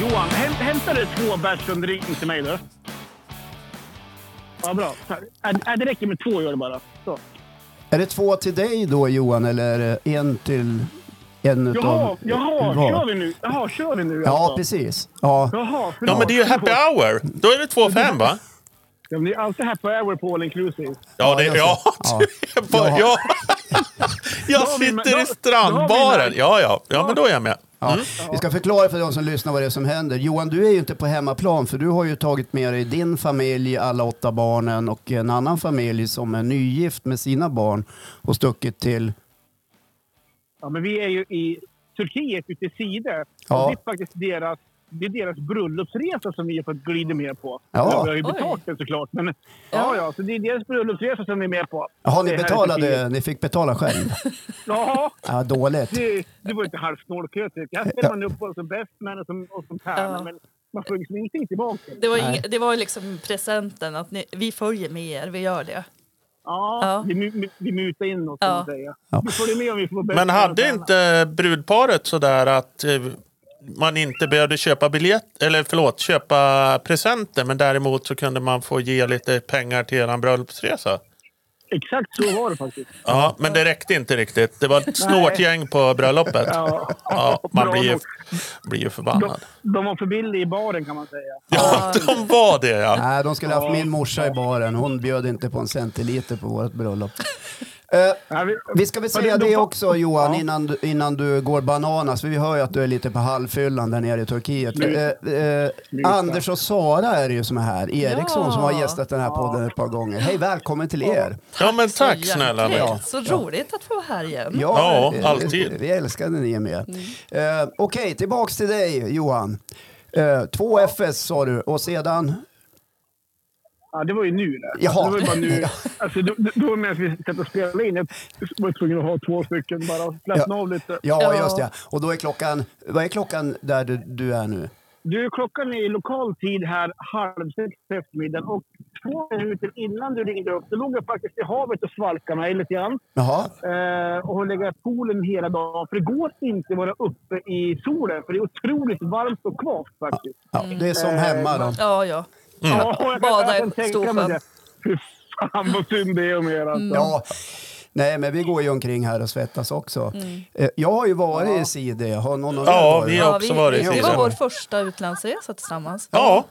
Johan, häm, hämtar du två bärs från drinken till mig då? Ja, bra. Tack. Äh, äh, Det räcker med två gör det bara. Så. Är det två till dig då Johan, eller är det en till en Jaha, utav jaha, var? kör vi nu? Jaha, kör vi nu Ja, alltså? precis. Ja. Jaha, förlåt. Ja, men det är ju happy hour. Då är det två fem, va? Ja, men det är alltid happy hour på all inclusive. Ja, det, Ja, ja, just det. du är bara, Ja. ja. Jag Då har vi- sitter i då- då har strandbaren. vi- Ja, ja, ja, men då är jag med. Ja. Mm. Vi ska förklara för de som lyssnar vad det är som händer. Johan, du är ju inte på hemmaplan för du har ju tagit med dig din familj, alla åtta barnen och en annan familj som är nygift med sina barn och stuckit till... Ja, men vi är ju i Turkiet, ute i Side. Ja. Och Det är faktiskt deras, det är deras bröllopsresa som vi har fått glida med på. Ja. vi har ju betalt den såklart. Men, ja. Ja, så det är deras bröllopsresa som vi är med på. Det Jaha, ni är här i Turkiet. betalade, ni fick betala själv. Ja, Ja, dåligt. det, det var ju inte halvsnålkö. tycker jag. Här ställer man upp både som bästman och som, och som tärna, Ja. men man får liksom ingenting tillbaka. Det var, ing, det var ju liksom presenten, att ni, vi följer med er, vi gör det. Ja, Ja. Vi, mu- mu- vi mutar in något, kan Ja. man säga. Ja. Vi följer med om vi får vara bäst Men man och hade tärna. inte brudparet sådär att eh, man inte behövde köpa biljett, eller förlåt, köpa presenter, men däremot så kunde man få ge lite pengar till er bröllopsresa? Exakt så var det faktiskt. Ja, men det räckte inte riktigt. Det var ett snålt gäng på bröllopet. Ja. Ja, man Bra blir ju, nog. blir ju De, förbannad. de var för billiga i baren, kan man säga. Ja, de var det ja. Nej, de skulle haft min morsa i baren. Hon bjöd inte på en centiliter på vårt bröllop. Eh, Ja, vi, Vi ska väl säga Hörru, de- det också Johan, innan, du, innan du går bananas. Vi hör ju att du är lite på halvfyllan där nere i Turkiet. Sluta. Eh, eh, Sluta. Anders och Sara är det ju som är här. Eriksson som har Ja. gästat den här podden ett par gånger. Hej, välkommen till er. Ja, men tack Så snälla jäkligt. ni. Så roligt att få vara här igen. Ja, eh, alltid. Vi älskar när ni är med. Eh, Okej, tillbaks till dig Johan. Eh, två FS sa du och sedan? Ja, det var ju nu det. Jaha. Det var ju bara nu. Alltså, då, då- då medan vi satt och spelade in, jag var tvungen att ha två stycken bara och slappna av lite. Ja, Ja. just det. Och då är klockan, vad är klockan där du, du är nu? Du, klockan är i lokal tid här halv sex på eftermiddagen och två minuter innan du ringde upp, då låg jag faktiskt i havet och svalkade mig lite grann. Jaha, Eh, och har legat i poolen hela dagen. För det går inte att vara uppe i solen, för det är otroligt varmt och kvavt faktiskt. ja, det är som hemma då. Ja, ja. Mm. Ja, jag kan- Bada jag i kan tänka mig Storsjön. det. Fy fan vad synd det är om er alltså. Mm. Ja. Nej, men vi går ju omkring här och svettas också. Mm. Eh, Jag har ju varit i CD. Har någon av er Ja, varit? vi har också varit i Det Sida. var vår Sida. första utlandsresa tillsammans. Ja,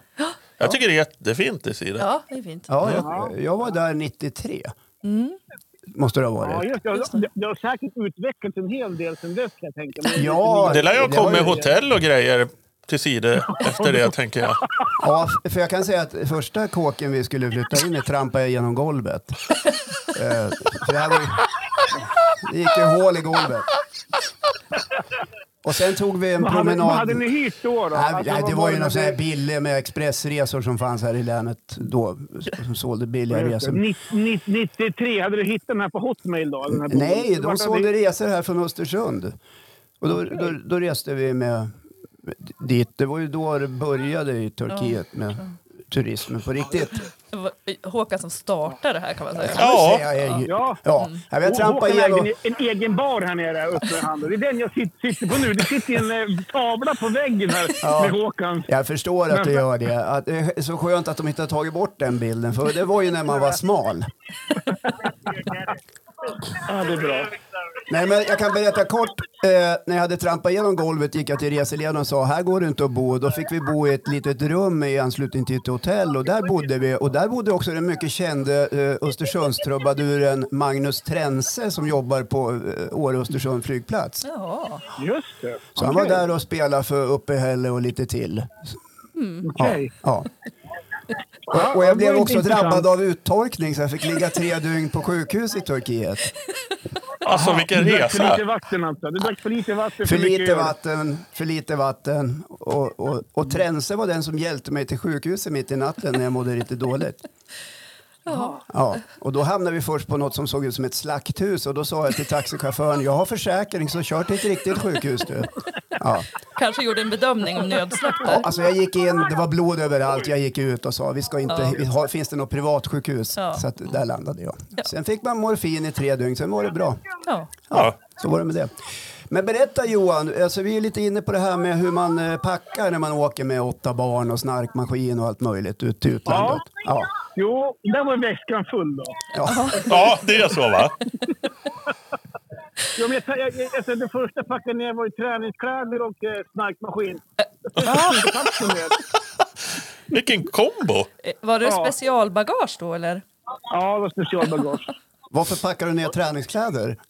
jag tycker det är jättefint i Sida. Ja, det är fint. Ja, jag, jag var där 93. Måste det ha Mm. Ja, varit. just det. Jag, jag har säkert utvecklats en hel del sen dess kan jag tänka mig. Ja, Det lär jag var komma med ju- hotell och grejer till Sida efter det, tänker jag. Ja, f- för jag kan säga att första kåken vi skulle flytta in i trampade jag genom golvet. Eh, för det, här var ju, det gick ju hål i golvet. Och sen tog vi en Vad hade, vad promenad. hade ni hyrt då? då? Nej, Alltså, nej, vad det var ju det någon med- sån här billig med expressresor som fanns här i länet då, som sålde billiga resor. Nitt- nitt- 93, hade du hittat den här på Hotmail då? Den här Nej, boken? de Vart sålde hade- resor här från Östersund. Och då, då, då reste vi med dit. Det var ju då det började i Turkiet med turismen på riktigt. Det var Håkan som startade det här kan man säga. Ja, Jag är ju- Ja. ja. Jag vill Och trampa Håkan igenom. ägde en, en egen bar här nere uppe i handen. Det är den jag sit- sitter på nu. Det sitter en eh, tavla på väggen här med Håkan. Jag förstår att du gör det. Att det är så skönt att de inte har tagit bort den bilden, för det var ju när man var smal. Ja, det är bra. Nej, men jag kan berätta kort. Eh, när jag hade trampat igenom golvet gick jag till reseledaren och sa här går det inte att bo. Då fick vi bo i ett litet rum i anslutning till ett hotell och där bodde vi. Och där bodde också den mycket kände eh, Östersundstrubaduren Magnus Trense som jobbar på eh, Åre Östersund flygplats. Ja, Just det. Så han var där och spelade för uppehälle och lite till. Okej. Ja. Och, och jag blev det var också intressant. drabbad av uttorkning så jag fick ligga tre dygn på sjukhus i Turkiet. alltså vilken Du drack för resa. lite vatten alltså. Du drack för lite vatten. För mycket lite öl. vatten, för lite vatten. Och, och, och Trense var den som hjälpte mig till sjukhuset mitt i natten när jag mådde riktigt dåligt. Ja, och då hamnade vi först på något som såg ut som ett slakthus och då sa jag till taxichauffören, jag har försäkring så kör till ett riktigt sjukhus du. Ja. kanske gjorde en bedömning om nödslakt Ja, där. alltså jag gick in, det var blod överallt, jag gick ut och sa, vi ska inte, vi har, finns det något privatsjukhus? Ja. Så att där landade jag. Sen fick man morfin i tre dygn, sen var det bra. Ja. Ja, så var det med det. Men berätta Johan, alltså, vi är lite inne på det här med hur man eh, packar när man åker med åtta barn och snarkmaskin och allt möjligt ut till utlandet. Ja. Jo, där var väskan full då. Ja. Ja, det är så va? Ja, men jag, jag, jag, alltså, det första packen ner var ju träningskläder och eh, snarkmaskin. Tack för det. Vilken kombo! Eh, Var det Ja. specialbagage då eller? Ja, det var specialbagage. Varför packar du ner träningskläder?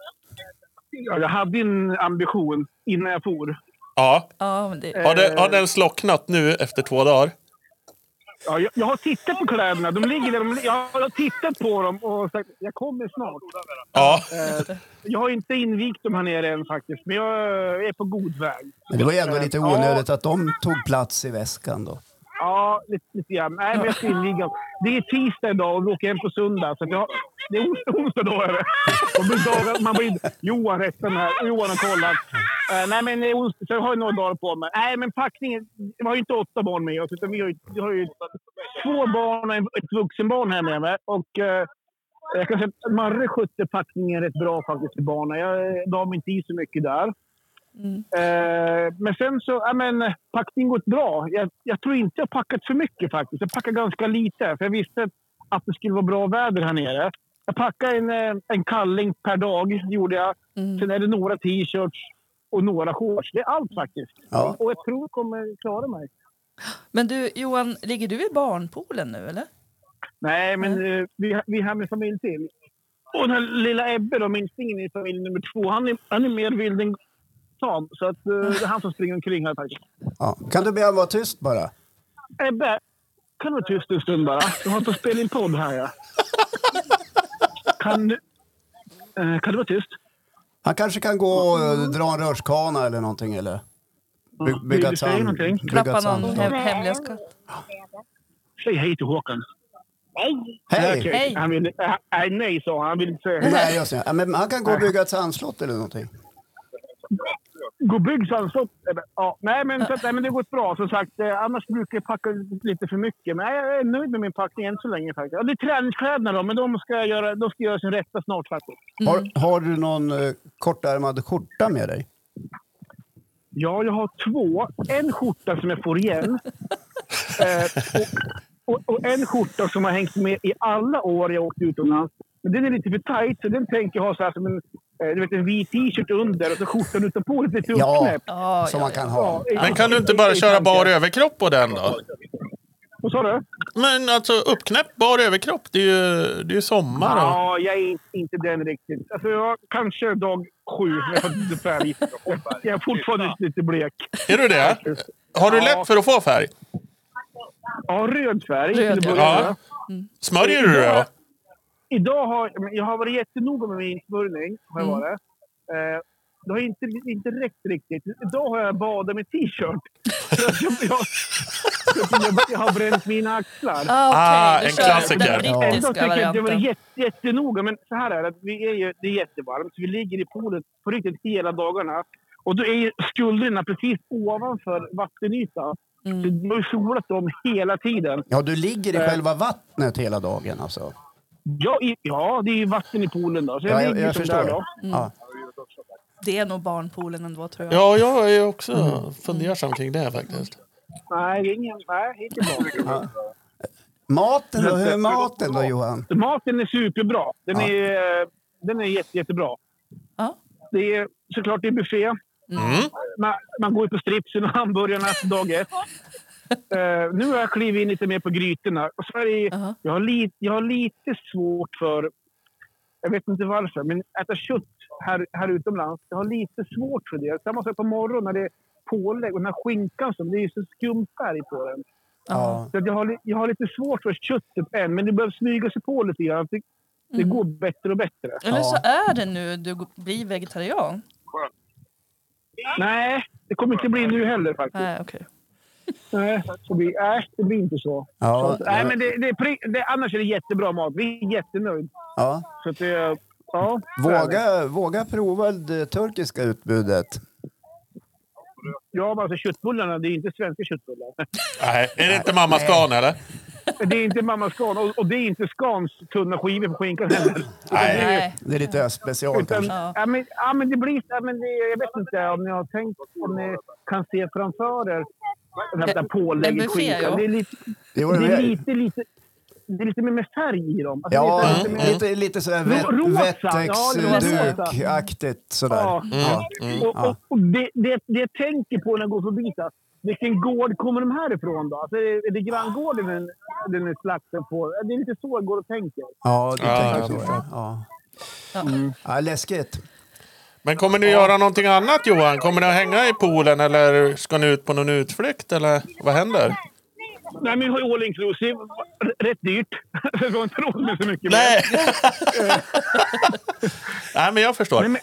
Ja, jag hade en ambition innan jag for. Ja. Ja, men det... Har, det, har den slocknat nu efter två dagar? Ja, jag, jag har tittat på kläderna. De ligger där. De, jag har tittat på dem och sagt jag kommer snart. Ja. Eh, jag har inte invigt dem här nere än faktiskt, men jag är på god väg. Men det var ju ändå lite Ja. onödigt att de tog plats i väskan då. Ja, lite, lite grann. Nej, men jag ska inviga dem. Det är tisdag idag och vi åker hem på söndag. Så att jag, det är onsdag, onsdag då är det. Man blir, dagar, man blir Johan resten här. Johan har kollat. Eh, nej, men det är onsdag, så jag har ju några dagar på mig. Nej, men packningen. Vi har ju inte åtta barn med oss, utan vi har ju, vi har ju två barn och en- ett vuxenbarn här med mig. Och, eh, jag kan säga att Marre skötte packningen rätt bra faktiskt för barnen. Jag eh, la mig inte i så mycket där. Eh, men sen så, ja men packningen gått bra. Jag, jag tror inte jag packat för mycket faktiskt. Jag packade ganska lite för jag visste att- att det skulle vara bra väder här nere. Jag packade en, eh, en kalling per dag, gjorde jag. Sen är det några t-shirts och några shorts. Det är allt faktiskt. Ja. Och jag tror jag kommer klara mig. Men du Johan, ligger du i barnpoolen nu eller? Nej, men eh, vi, vi är här med familj till. Och den här lilla Ebbe, då, minstingen i familj nummer två, han är, han är mer vild än Sam. Så att, eh, det är han som springer omkring här faktiskt. Ja. Kan du be honom vara tyst bara? Ebbe, kan du vara tyst en stund bara? Jag håller på att spela in podd här. Ja. Kan, du, eh, kan du vara tyst? Han kanske kan gå och eh, dra en rörskana eller någonting eller? By, Vill bygga Mm. du ett säga sam- någonting? bygga Klappa ett någon samtal. hem, hemlös katt? Säg hej till Håkan. Hej! Hej. Han vill, eh, nej, nej, sa han. Han vill inte säga hej. Nej, just det. Ja, men han kan gå och bygga ett sandslott eller någonting. Gå och bygg sandslott. Ebbe. Ja, nej, men, så, att- nej, men det har gått bra. Som sagt, eh, annars brukar jag packa lite för mycket. Men jag är nöjd med min packning än så länge. faktiskt. Ja, det är träningskläderna då, men de ska jag göra, de ska jag göra sin rätta snart faktiskt. Har, har du någon eh, kortärmad skjorta med dig? Ja, jag har två. En skjorta som jag får igen. eh, och, och, och en skjorta som har hängt med i alla år jag åkt utomlands. Men den är lite för tajt, så den tänker jag ha så här som en, eh, du vet, en vit t-shirt under och så skjortan utanpå lite till Ja. uppknäppt. Ja, Som ja, man ja. kan ha? i- Men kan du inte i- bara i köra tanken. bar överkropp på den då? Vad sa du? Men alltså uppknäppt bar överkropp, det är ju, det är ju sommar. Och... Ja, jag är inte den riktigt. Alltså, jag kanske dag sju, men jag har inte färg. Jag är fortfarande lite blek. Är du det? Har du lätt för att få färg? Ja, röd färg Röd, till att ja. börja med. Ja. Smörjer du det då? Idag har men jag har varit jättenoga med min smörjning. Har jag Mm. varit. Eh, det har inte, inte räckt riktigt. Idag har jag badat med t-shirt. Så att jag, jag, jag, jag har bränt mina axlar. Ah, Ah, okej, du en kör klassiker. Den Ändå brittiska tycker jag att jag var varianten. jätte, jättenoga. Men så här är det. Vi är ju, det är jättevarmt. Vi ligger i poolen på riktigt hela dagarna. Och då är ju skuldrorna precis ovanför vattenytan. Så du har ju solat dem hela tiden. Ja, du ligger i själva vattnet hela dagen alltså? Ja, i, ja det är ju vatten i poolen då. Så jag Ja, jag, ligger jag som förstår. Mm. där då. Ja. Det är nog barnpoolen ändå tror jag. Ja, jag är också fundersam kring det faktiskt. Nej, ingen, nej, inte bra. Maten då? Hur är maten då Johan? Maten är superbra. Den Ja. är, eh, den är jätte, jättebra. Ja. Det är såklart det är buffé. Mm. Man, man går ju på stripsen och hamburgarna dag ett. Eh, nu har jag klivit in lite mer på grytorna. Och så är det, Aha. jag, har li, jag har lite svårt för... Jag vet inte varför, men äta kött här, här utomlands, jag har lite svårt för det. Samma sak på morgonen när det är pålägg och den här skinkan, som, det är ju så skumt färg på den. Ja. Så att jag, har, li- jag har lite svårt för köttet än, men det behöver smyga sig på lite grann. Det, det går bättre och bättre. Eller så Ja. är det nu du g- blir vegetarian. Nej, det kommer inte bli nu heller faktiskt. Nej, okej. Nej, det blir, nej, det blir inte så. Ja, så att, nej, ja. men det, det, är pri- det, annars är det jättebra mat. Vi är jättenöjda. ja. Så att det, ja, Våga, våga prova det turkiska utbudet. Ja, men alltså köttbullarna, det är inte svenska köttbullar. Nej, är det inte mammas plan eller? Men det är inte Mamma Scan och, och det är inte Scans tunna skivor på skinkan heller. Nej, Nej. det är lite special Utan, kanske. ja. Ja. men, ja, men det blir... Ja, men det, jag vet inte om ni har tänkt, om ni kan se framför er det här En- en pålägget buffé, ja. skinkan. Det är lite, Det det var är det lite, lite, det är lite mer med färg i dem. Alltså, det är Ja, lite mer- lite, lite sådär Ro- rosa. Ja, det var Vetex-duk-aktigt sådär. Ja. Ja. Och, och, och det, det, det jag tänker på när jag går förbi så här, vilken gård kommer de här ifrån då? Alltså, är det granngården den, den är slakten på? Det är lite så jag går och tänker. Ja, du Ja, tänker jag så. förstår. Ja. Ja. Ja, läskigt. Men kommer ni göra någonting annat Johan? Kommer ni att hänga i poolen eller ska ni ut på någon utflykt eller vad händer? Nej, men vi har ju all inclusive. R- Rätt dyrt. Vi har inte råd med så mycket Nej! Nej men jag förstår. Nej, men,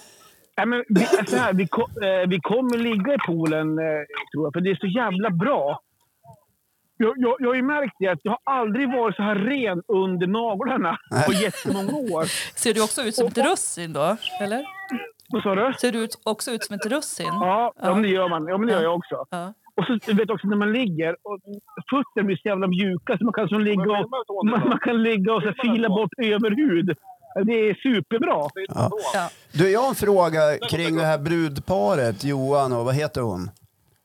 nej, men vi, så här, vi, ko- eh, vi kommer ligga i poolen, eh, tror jag, för det är så jävla bra. Jag, jag, jag har ju märkt det att jag har aldrig varit så här ren under naglarna på jättemånga år. Ser du också ut som ett russin då? Eller? Vad sa du? Ser du ut- också ut som ett russin? Ja, ja. men det gör man. Ja, men det gör jag också. Ja. Och så du vet också när man ligger, och fötterna blir så jävla mjuka så man kan, så ligga, och, man, man kan ligga och så här fila bort överhud. Det är superbra. Ja. Du, jag har en fråga kring det här brudparet, Johan och vad heter hon?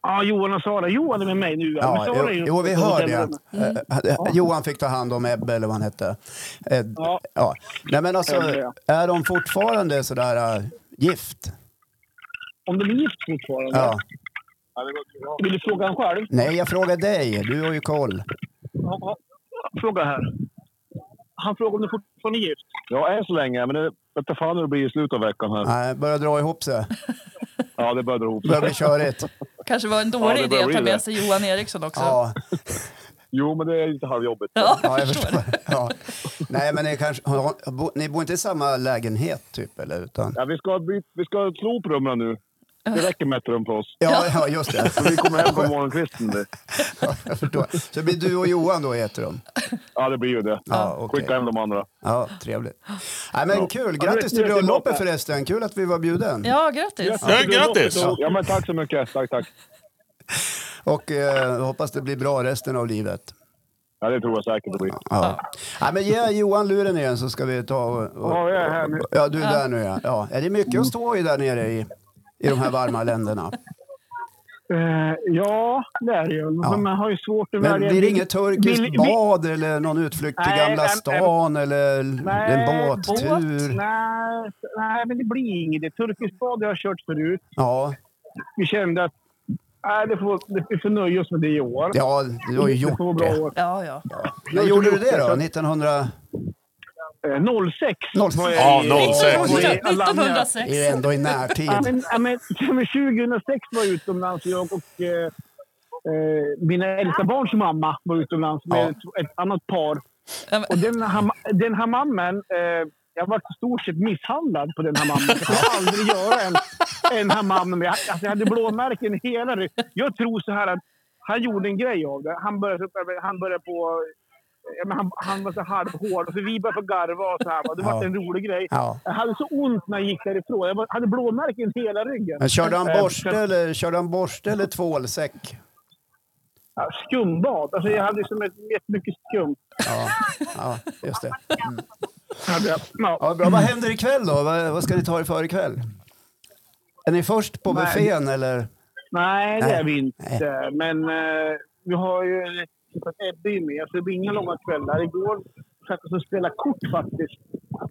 Ja, Johan och Sara. Johan är med mig nu. men Sara jo, är ju- jo, vi hör det. Eh, eh, Johan fick ta hand om Ebbe eller vad han hette. Eh, Ja. ja. Nej, men alltså, Ebbe, ja. är de fortfarande sådär eh, gift? Om de är gift fortfarande? Ja. Vill du fråga han själv? Nej, jag frågar dig. Du har ju koll. Fråga här. Han frågar om du fortfarande är gift. Ja, än så länge. Men det vete fan hur det blir i slutet av veckan här. Nej, börjar dra ihop sig. Ja, det börjar dra ihop Börjar sig. bli körigt. Kanske var en Ja, dålig det idé börjar att ta bli det. med sig Johan Eriksson också. Ja, Jo, men det är lite halvjobbigt. Ja, ja jag jag förstår. förstår. Ja. Nej, men ni, kanske, har- bo- ni bor inte i samma lägenhet typ? Eller, utan... Ja, vi ska, byt, vi ska slå upp rummen nu. Det räcker med ett rum för oss. ja, ja, just det. Så vi kommer hem på morgonkvisten. det. Ja, jag förstår. Så det blir du och Johan då i ett rum? Ja, det blir ju det. Ja, okej. Skicka hem de andra. Ja, trevligt. Nej, men kul. Grattis till nu är jag bröllopet tillbaka. förresten. Kul att vi var bjuden. Ja, grattis. Ja, grattis! Ja, men tack så mycket. Tack, tack. Och eh, hoppas det blir bra resten av livet. Ja, det tror jag säkert det blir. Ja. Nej, men ge Johan luren igen så ska vi ta och... och Ja, jag är här nu. ja, du är där nu ja. ja. Är det mycket att stå i där nere i, i de här varma länderna? Eh, ja, det är det ju. Ja. Men man har ju svårt att Men blir det Vill- inget turkiskt vill- vill- bad eller någon utflykt till Nej, Gamla nej, stan eller Nej, en båttur? Nej, nej, men det blir inget. Det turkiskt bad har jag kört förut. Ja, Vi kände att nej, det får, det, vi får nöja oss med det i år. ja, du har ju Det får vara gjort bra det. år. Ja, ja. När gjorde du det då? 1900? Eh, 06 var jag Ja, i- 06. var jag i Alanya. 1906. Det är ju ändå i närtid. Ja, men, ja, men, ja, men 2006 var jag utomlands jag och eh, eh, mina äldsta barns mamma var utomlands med Ja. ett, ett annat par. Ja, men- Och den, ham, den här mamman, eh, jag var i stort sett misshandlad på den här mamman. Jag kunde aldrig göra en, en hammam. Men jag, alltså, jag hade blåmärken i hela ryggen. Jag tror så här att han gjorde en grej av det. Han började, han började på... Ja, men han, han var så halvhård, och så vi började få garva och så här. va. Det Ja. var en rolig grej. Ja. Jag hade så ont när jag gick därifrån. Jag var- hade blåmärken i hela ryggen. Men körde han Eh, borste så- eller, körde han borste eller tvålsäck? ja, Skumbad. Alltså, jag hade liksom ett, jättemycket skum. Ja, ja just det. Hade jag. Ja. Ja, bra. Vad händer ikväll då? Vad, vad ska ni ta er för ikväll? Är ni först på Nej. buffén eller? Nej, det Nej. är vi inte. Men eh, vi har ju... eh, Ebbe är ju med, så det blir inga långa kvällar. Igår satt oss och spelade kort faktiskt.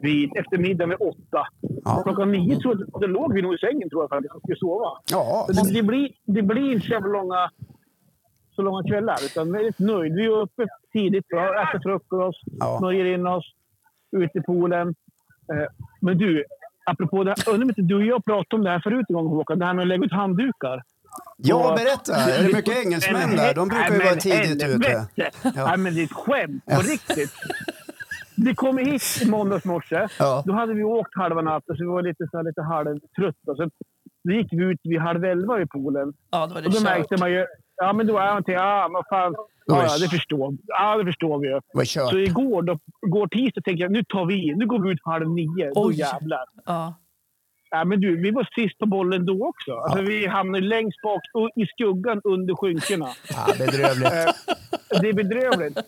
Vid eftermiddagen vid åtta. Ja. Klockan nio tror jag, då låg vi nog i sängen tror jag faktiskt och skulle sova. Ja, Så det, det, blir, det blir inte så jävla långa, så långa kvällar. Utan vi är rätt nöjda. Vi är uppe tidigt, bra, äter frukost, Ja. smörjer in oss, ut i poolen. Eh, men du, apropå det här. Undrar om inte du och jag pratade om det här förut en gång Håkan? Det här med att lägga ut handdukar. ja berätta. Är det mycket engelsmän där? De brukar Nej, ju vara men tidigt ute. helvete. Nej, men det är ett skämt. På riktigt. Vi kom hit i måndags morse. Ja. Då hade vi åkt halva natten, så vi var lite, så här, lite halvtrötta. Så då gick vi ut vid halv elva i poolen. Ja, då var det Och då kört. märkte man ju... Ja, men då är han till... Ja, men fan. Ja, ja, det förstår, ja, det förstår vi ju. Vad kört. Så igår, då, igår tisdag tänkte jag nu tar vi i. Nu går vi ut halv nio. Då Oj. jävlar. Ja. Ja, men du, vi var sist på bollen då också. Alltså, Vi hamnade längst bak u- i skuggan under skynkena. Ja, bedrövligt. Det är bedrövligt.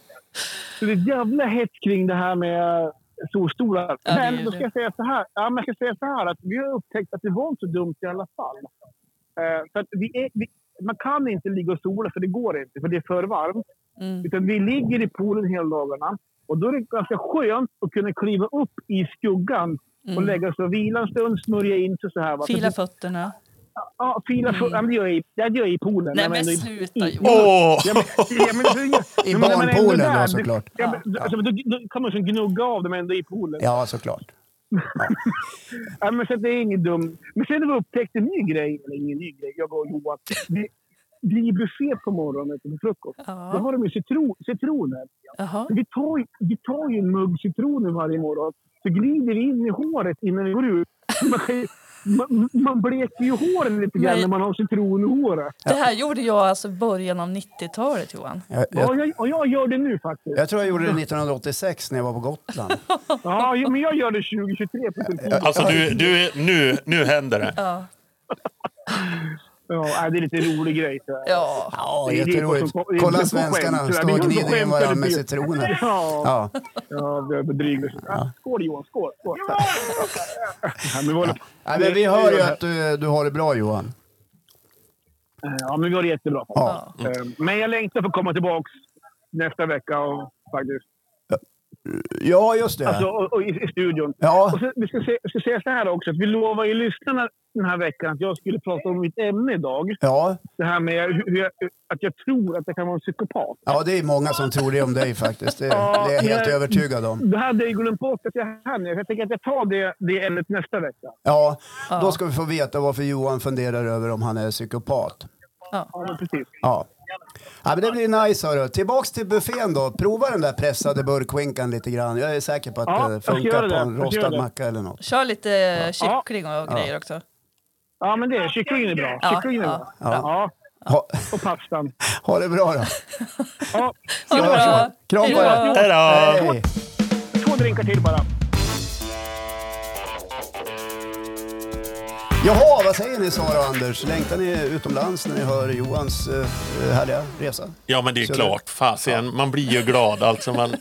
Så det är ett jävla hett kring det här med storstolar. Ja, det är men då det. ska jag säga så här. Ja, men jag ska säga så här att vi har upptäckt att det var inte så dumt i alla fall. Eh, för att vi är, vi, man kan inte ligga och sola, för det går inte. För det är för varmt. Mm. Utan vi ligger i poolen hela dagarna. Och då är det ganska skönt att kunna kliva upp i skuggan och lägga sig och vila en stund, smörja in sig så här. va. Så Mm. Fila det- fötterna. Ja, fila för, ja, men det gör jag i, det gör jag i poolen. När Nej man men ändå är i- sluta i- Johan. Ja, men, ja, men, så- I ja, men när man är ändå barnpoolen då, där, såklart. Du, ja, men, alltså, då, då kan man ju gnugga av dem ändå i poolen. Ja. Ja, såklart. men, så att det är inget dumt. Men sen har vi upptäckt en ny grej. Eller ingen ny grej. Jag och Johan. Det, det är buffé på morgonen till frukost. Då Ja. har de ju citron, citroner. Jaha. Vi tar, ju- vi tar ju en mugg citroner varje morgon. Så glider vi in i håret innan vi går ut. Man, kan ju- man, man bleker ju håren lite grann Nej. när man har citron i håret. Det här gjorde jag alltså i början av 90-talet Johan. Jag, Ja, jag, jag, och jag gör det nu faktiskt. jag tror jag gjorde det 1986 när jag var på Gotland. Ja, ju- men jag gör det 2023 på telefon. Alltså du, du är, nu, nu händer det. Ja. Ja, nej, det är lite rolig grej. Så här. ja. Ja, Det är jätteroligt. det som- det är Kolla som svenskarna skämt, stå det är och som gnider in skämt, varandra eller med hur? citroner. Ja, Ja, ja vi har bedrivit. Ja. Skål Johan, skål! skål. Ja, men vi, har, Nej, men vi hör ju att du, du har det bra Johan. ja, men vi har det jättebra. Ja. Eh, Men jag längtar för att komma tillbaka nästa vecka och, faktiskt. Ja, just Alltså, det. och, och i, i studion. Ja, Och så, vi ska, se, ska säga så här också, att vi lovar ju lyssnarna den här veckan att jag skulle prata om mitt ämne idag. ja, Det här med hur hur jag, att jag tror att jag kan vara en psykopat. ja, det är många som tror det om dig faktiskt. Det, det är jag helt övertygad om. Det hade jag glömt bort att jag hann. Jag tänker att jag tar det, det ämnet nästa vecka. Ja, då ska vi få veta varför Johan funderar över om han är psykopat. Ja, men precis. Ja. ja men det blir nice hörru. Tillbaks till buffén då. Prova den där pressade burkvinkan lite grann. Jag är säker på att Ja, det jag ska göra funkar på det. en Jag ska göra rostad det. macka eller något. Kör lite kyckling och grejer också. Ja, men det är kycklingen är bra. Ja, Kycklingen är ja. bra. Ja. Ja. Ha, och pastan. ha det bra då. Ja, Ha det Ja, bra. så. Kram på Hej då. er. Hej då! Hej. två drinkar till bara. Jaha, vad säger ni Sara och Anders? Längtar ni utomlands när ni hör Johans eh, härliga resa? Ja, men det är Så klart. Fasen, man blir ju glad. Alltså man,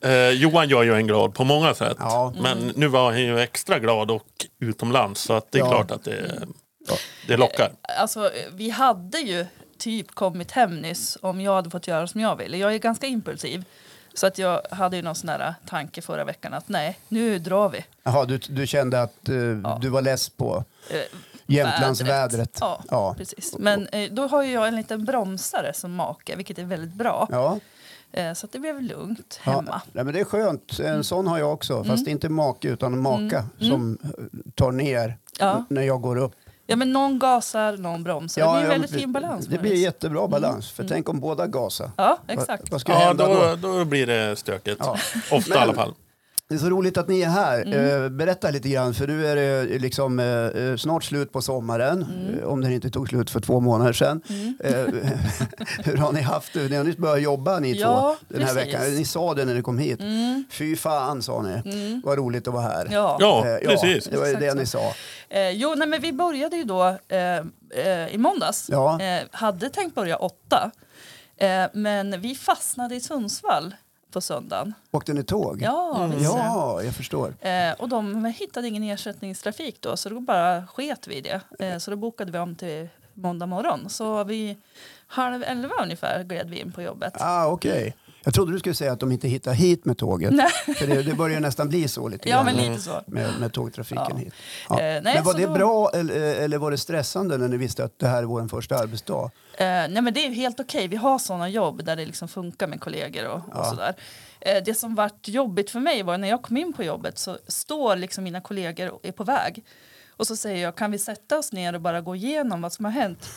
eh, Johan gör ju en glad på många sätt. Ja. Men nu var han ju extra glad och utomlands. Så att det är Ja. klart att det, det lockar. Alltså vi hade ju typ kommit hem nyss om jag hade fått göra som jag ville. Jag är ganska impulsiv. Så att jag hade ju någon sån där tanke förra veckan att nej, nu drar vi. Jaha, du, du kände att eh, du var less på Eh, Jämtlandsvädret? Ja, Ja. precis. Men eh, då har ju jag en liten bromsare som make, vilket är väldigt bra. ja. Eh, så att det blev lugnt Ja. hemma. Mm. Nej, men det är skönt. En sån har jag också. Fast inte make utan maka som eh, tar ner Ja. när jag går upp. Ja, men någon gasar, någon bromsar. det blir en väldigt fin balans. Det på blir något vis. Mm. jättebra balans. För tänk om båda gasar. Ja, Vad, exakt. vad skulle Ja, hända då? då, då blir det stökigt. Ja. Ofta i alla fall. Det är så roligt att ni är här. Mm. Eh, Berätta lite grann, för nu är det liksom eh, eh, snart slut på sommaren, Mm. eh, om den inte tog slut för två månader sedan. Eh, Hur har ni haft det? Ni har nyss börjat jobba ni Ja, två den här precis. Mm. veckan. Ni sa det när ni kom hit. Fy fan sa ni, vad roligt att vara här. Ja. Ja, Eh, precis. Det var ju Exakt det så. ni sa. Eh, jo, nej, men vi började ju då eh, eh, i måndags. Ja. Eh, hade tänkt börja åtta. Eh, men vi fastnade i Sundsvall på söndagen. Åkte ni tåg? Mm. Ja, visst. Ja, jag förstår. Eh, och de hittade ingen ersättningstrafik då, så då bara sket vi i det. Eh, så då bokade vi om till måndag morgon. Så vi halv elva ungefär gled vi in på jobbet. Ah, okej. Jag trodde du skulle säga att de inte hittar hit med tåget. Nej. För det, det börjar nästan bli så lite Ja, grann. men lite så. med, med tågtrafiken Ja. hit. Ja. Eh, nej, men var så det då- bra eller, eller var det stressande när ni visste att det här är vår första arbetsdag? Eh, nej men det är helt okej, vi har sådana jobb där det liksom funkar med kollegor och, och sådär. Eh, det som vart jobbigt för mig var när jag kom in på jobbet så står liksom mina kollegor och är på väg. Och så säger jag, kan vi sätta oss ner och bara gå igenom vad som har hänt?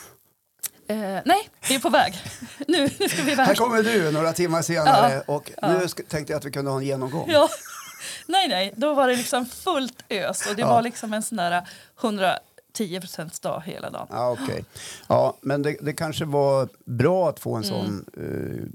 Eh, nej, vi är på väg. nu, nu ska vi iväg. Här kommer du några timmar senare och nu sk- tänkte jag att vi kunde ha en genomgång. Ja. Nej, nej, då var det liksom fullt ös och det var liksom en sån där 110 procents dag hela dagen. Ja, okej. Ja, men det, det kanske var bra att få en sån eh,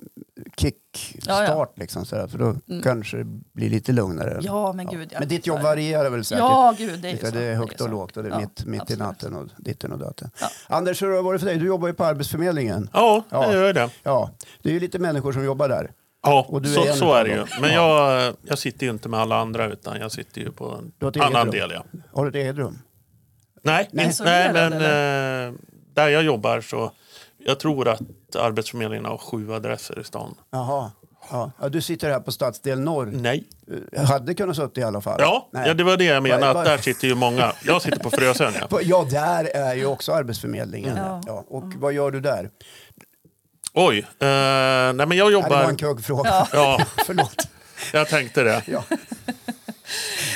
Ja, kickstart Mm. ja. Mm. liksom sådär, för då kanske det blir lite lugnare. Ja, men gud, ja. Men ditt jobb varierar väl säkert? Ja, gud, det är ju Lite- så. det är högt Det är och så. lågt och det är Ja, mitt, mitt i absolut. natten och ditten och datten. Ja. Anders, hur har det varit för dig? Du jobbar ju på Arbetsförmedlingen. Ja, Ja. det gör det. Ja, det är ju lite människor som jobbar där. Ja, Och du är så, en så är av det ju. dem. Men jag, jag sitter ju inte med alla andra utan jag sitter ju på Du har ett en eget annan rum. del. Ja. Har du ett eget rum? Nej, Nej. inte, nej men eh, där jag jobbar så jag tror att Arbetsförmedlingen har sju adresser i stan. Jaha. Ja. Ja, du sitter här på stadsdel norr. Nej. Jag hade kunnat suttit i alla fall. Mm. Ja, Nej. ja det var det jag menade. Var- Att var- där sitter ju många. Jag sitter på Frösön. Ja. Ja, där är ju också Arbetsförmedlingen. Ja. Ja. Mm. Och vad gör du där? Oj, eh, nej men jag Ja, Det var jobbar... en kuggfråga. Ja, Förlåt. jag tänkte det. Ja.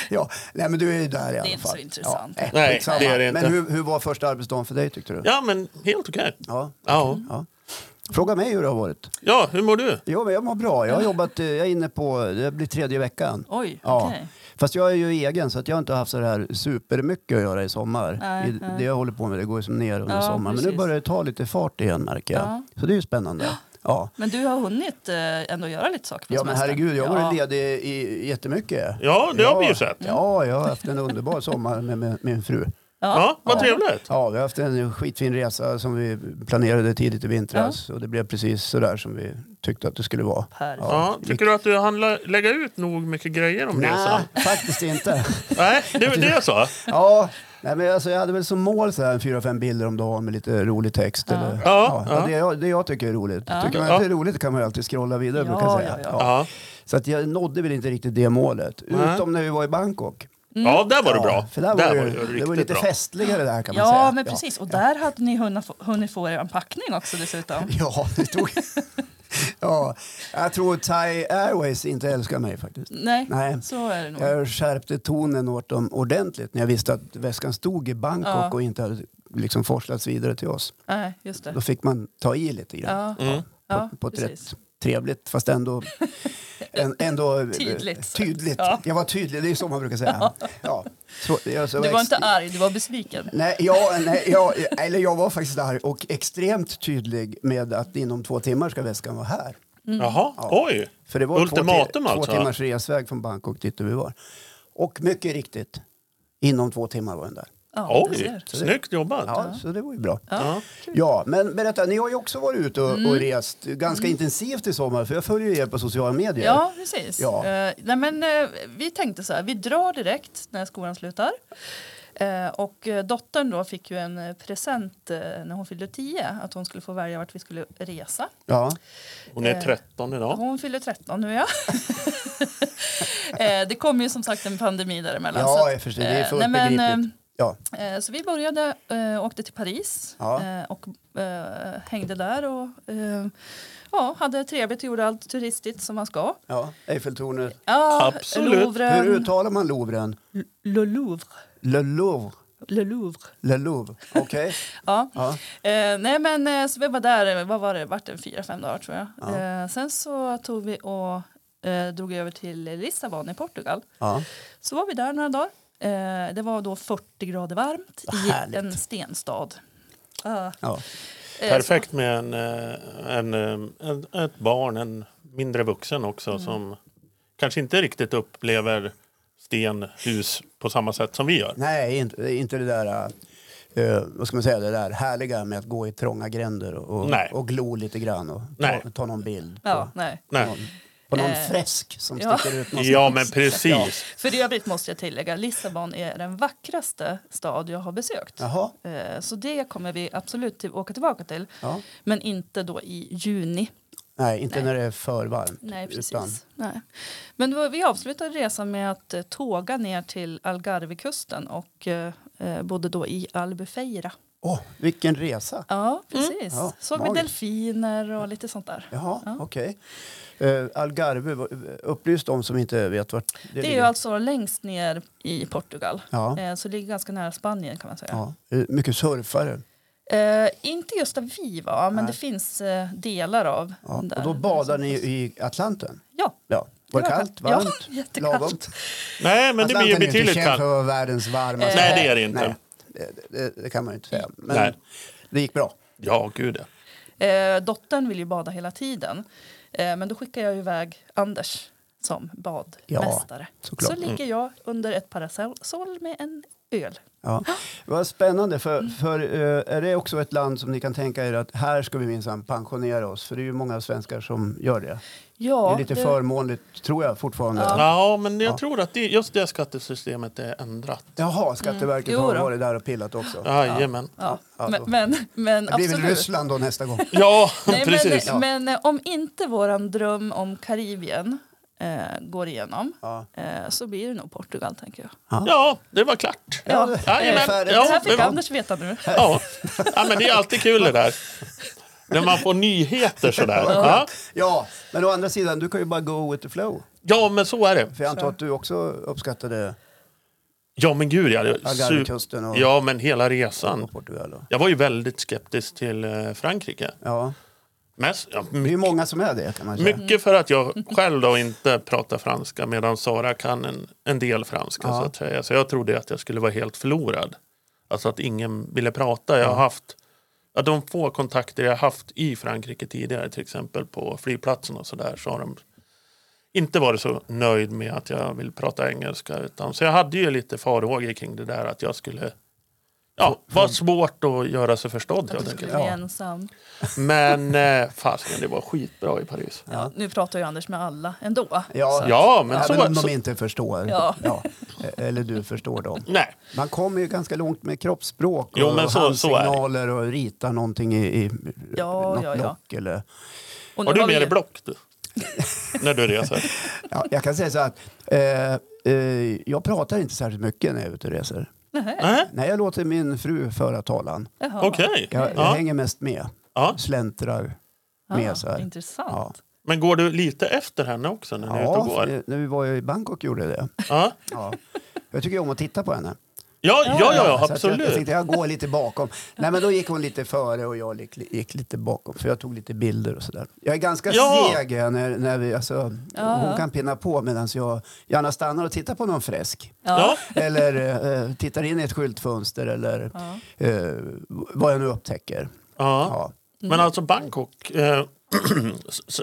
ja. Nej, men du är ju där i alla fall. inte så intressant. Ja. eh, Nej, skitsamma. det är det inte. Men hur, hur var första arbetsdagen för dig tyckte du? Ja, men helt okej. Ja. Ja. ja. Fråga mig hur det har varit. ja, hur mår du? Jo, men jag mår bra. Jag har jobbat, eh, jag är inne på, det blir tredje veckan. Oj, okej. Fast jag är ju egen så att jag har inte haft så här supermycket att göra i sommar. Nej, I, det jag håller på med det går ju som ner under Ja, sommaren. Men nu precis. börjar det ta lite fart igen märker jag. Ja. Så det är ju spännande. Ja, Men du har hunnit eh, ändå göra lite saker på ja men semestern. herregud, jag har Ja. varit ledig i, jättemycket. Ja, det har vi ju sett. Ja, jag har haft en underbar sommar med, med min fru. Ja, vad trevligt. Ja, vi har haft en skitfin resa som vi planerade tidigt i vintras och det blev precis sådär som vi tyckte att det skulle vara. Härligt. Ja, tycker du att du handlar, lägga ut nog mycket grejer om resan? Nej, faktiskt inte. Nej, det var det jag sa. Ja, nej, men alltså, jag hade väl som mål så här, fyra, fem bilder om dagen med lite rolig text. Eller, Ja, ja. Det, jag, det jag tycker är roligt. Tycker man Ja. att det är roligt kan man ju alltid scrolla vidare Ja, brukar jag säga. ja, ja. Ja, Så att jag nådde väl inte riktigt det målet. Utom när vi var i Bangkok. ja där var du bra. För där var det, det var lite bra. festligare där kan man säga. Ja, men precis. Och där hade ni hunnit få, hunnit få er en packning också dessutom. Ja, det tog... ja, jag tror Thai Airways inte älskar mig faktiskt. Nej, Nej. Eh, så är det nog. Jag skärpte tonen åt dem ordentligt när jag visste att väskan stod i Bangkok Ja. och inte hade liksom forslats vidare till oss. Nej, just det. Då fick man ta i lite grann. Ja, på, ja, på ett precis. rätt trevligt, fast ändå... En, ändå eh, Tydligt. tydligt. Ja. Jag var tydlig, det är så man brukar säga. Ja. Så, jag, så Du var ex- inte arg, du var besviken. Nej, jag, nej jag, eller jag var faktiskt arg och extremt tydlig med att inom två timmar ska väskan vara här. Jaha, oj. För det var två, Ultimatum ti- alltså? två timmars resväg från Bangkok dit vi var. Och mycket riktigt, inom två timmar var den där. Ja, du Oj, ser. snyggt jobbat. Ja, Så det var ju bra. Ja. Ja, men berätta, ni har ju också varit ute och, Mm. och rest ganska intensivt i sommar för jag följer ju er på sociala medier. Ja, precis. Ja. Eh, nej, men, eh, vi tänkte så här, vi drar direkt när skolan slutar. Eh, och eh, dottern då fick ju en eh, present eh, när hon fyllde 10 att hon skulle få välja vart vi skulle resa. Ja. Hon är 13 idag. Hon fyller 13 nu ja. eh, det kom ju som sagt en pandemi däremellan. Ja, så att, jag förstår. Det är eh, fullt nej, men, begripligt. Ja. eh, Så vi började, eh, åkte till Paris Ja. eh, och eh, hängde där och eh, ja, hade trevligt och gjorde allt turistigt som man ska. ja, Eiffeltornet. Ja, Absolut. Hur Louvren. uttalar man Louvren? Le Louvre. Le Louvre. Le Louvre. Le Louvre. Okej. Ja. Ja. Eh, nej men eh, så vi var där, eh, vad var det, vart en fyra, fem dagar tror jag. Eh, sen så tog vi och eh, drog över till Lissabon i Portugal. Ja. Så var vi där några dagar. Eh, det var då 40 grader varmt i Härligt. en stenstad. Ah, Ja. Ja. Eh, Perfekt med en, eh, en, eh, en, ett barn, en mindre vuxen också som kanske inte riktigt upplever stenhus på samma sätt som vi gör. Nej, inte, inte det där... eh, vad ska man säga, det där härliga med att gå i trånga gränder och, Nej. och glo lite grann och Nej. ta, ta någon bild på, Ja, nej. Nej. på någon fresk som ja. sticker ut någonstans. Ja, men precis. För i övrigt måste jag tillägga, Lissabon är den vackraste stad jag har besökt. Jaha. Eh, Så det kommer vi absolut till, åka tillbaka till. Ja. Men inte då i juni. Nej, inte när det är för varmt. Nej, precis. utan- Nej. Men då, vi avslutade resan med att eh, tåga ner till Algarvekusten och eh, eh, bodde då i Albufeira. Åh, vilken resa! Ja, precis. Ja, Såg vi magiskt. delfiner och lite sånt där. Jaha, okej. Eh, Algarve, vad- upplys de som inte vet vart det, Det är ju ligger. alltså längst ner i Portugal, Ja. eh, så det ligger ganska nära Spanien kan man säga. Ja, eh, mycket surfare. Eh, inte just där vi var, men det finns eh, delar av. Ja. där. Och då badar ni i Atlanten? Ja, Ja. Var det Det var kallt? kallt. Ja, Varmt? jättekallt. Nej, men det blir ju Atlanten är inte betydligt känd för kallt. att vara världens varmaste. Nej, det är det inte. Nej, det, det, det kan man ju inte säga. Men Nej. det gick bra. Ja, gud ja. Eh, dottern vill ju bada hela tiden. Eh, men då skickar jag ju iväg Anders som badmästare. Ja, såklart. Mm. så ligger jag under ett parasoll med en öl. Ja. Vad spännande, för, för eh, är det också ett land som ni kan tänka er att här ska vi minsann pensionera oss? För det är ju många svenskar som gör det. Ja, det är lite förmånligt, tror jag fortfarande. Ja, men jag tror att det, just det skattesystemet är ändrat. Jaha, Skatteverket Mm. Jo har då. varit där och pillat också. Jajamän. ja. Ja, men, då. men, men Det blir väl absolut. Ryssland då nästa gång. Ja, Nej, precis. Men, men eh, om inte våran dröm om Karibien eh, går igenom Ja. eh, så blir det nog Portugal, tänker jag. Eh, Ja, det var klart. Ja, Jajamän. ungefär. det här Ja, fick det var, Anders veta nu. ja. ja, men det är alltid kul det där. När man får nyheter sådär. Ja, Ja, men å andra sidan, du kan ju bara go with the flow. ja men så är det. För jag antar att du också uppskattade Ja, men gud ja. det- Algarvekusten och, Ja, men hela och resan. Portugal. Och. Jag var ju väldigt skeptisk till eh, Frankrike. Ja, Mest, ja, det är ju många som är det kan man säga. Mycket för att jag själv då inte pratar franska medan Sara kan en, en del franska. Ja. Så, att säga. så jag trodde att jag skulle vara helt förlorad. Alltså att ingen ville prata. Jag har haft ja, de få kontakter jag haft i Frankrike tidigare, till exempel på flygplatsen och sådär, så har de inte varit så nöjd med att jag vill prata engelska. Utan, så jag hade ju lite farhågor kring det där att jag skulle Ja, var svårt att göra sig förstådd helt Du enkelt. är ensam. Men eh, fasiken, det var skitbra i Paris. Ja, nu pratar ju Anders med alla ändå. Ja, Ja, men så... även om så de inte förstår. Ja. E- Eller du förstår dem. nej. Man kommer ju ganska långt med kroppsspråk Jo, och men så- så är det. handsignaler och ritar någonting i, i Ja, något ja, ja. block. Eller, Och nu Har du har vi- med dig block du? När du reser? ja, jag kan säga så här att eh, eh, jag pratar inte särskilt mycket när jag är ute och reser. Nej, Nej, jag låter min fru föra talan. Jaha. okej. Jag, jag Ja. hänger mest med, Ja. släntrar Ja, med så här. Ja. Intressant. Men går du lite efter henne också när ni är ute och Ja, går? när vi var i Bangkok gjorde jag det. Ja, Ja. Jag tycker ju om att titta på henne. ja, ja, Så ja att Jag, jag absolut. tänkte jag går lite bakom. Nej men då gick hon lite före och jag gick, gick lite bakom för jag tog lite bilder och sådär. Jag är ganska Ja. seg här när, när vi, alltså, hon kan pinna på medan jag gärna stannar och tittar på någon fresk. Ja, Eller eh, tittar in i ett skyltfönster eller eh, vad jag nu upptäcker. ja. Ja. Men alltså Bangkok, eh, s- s-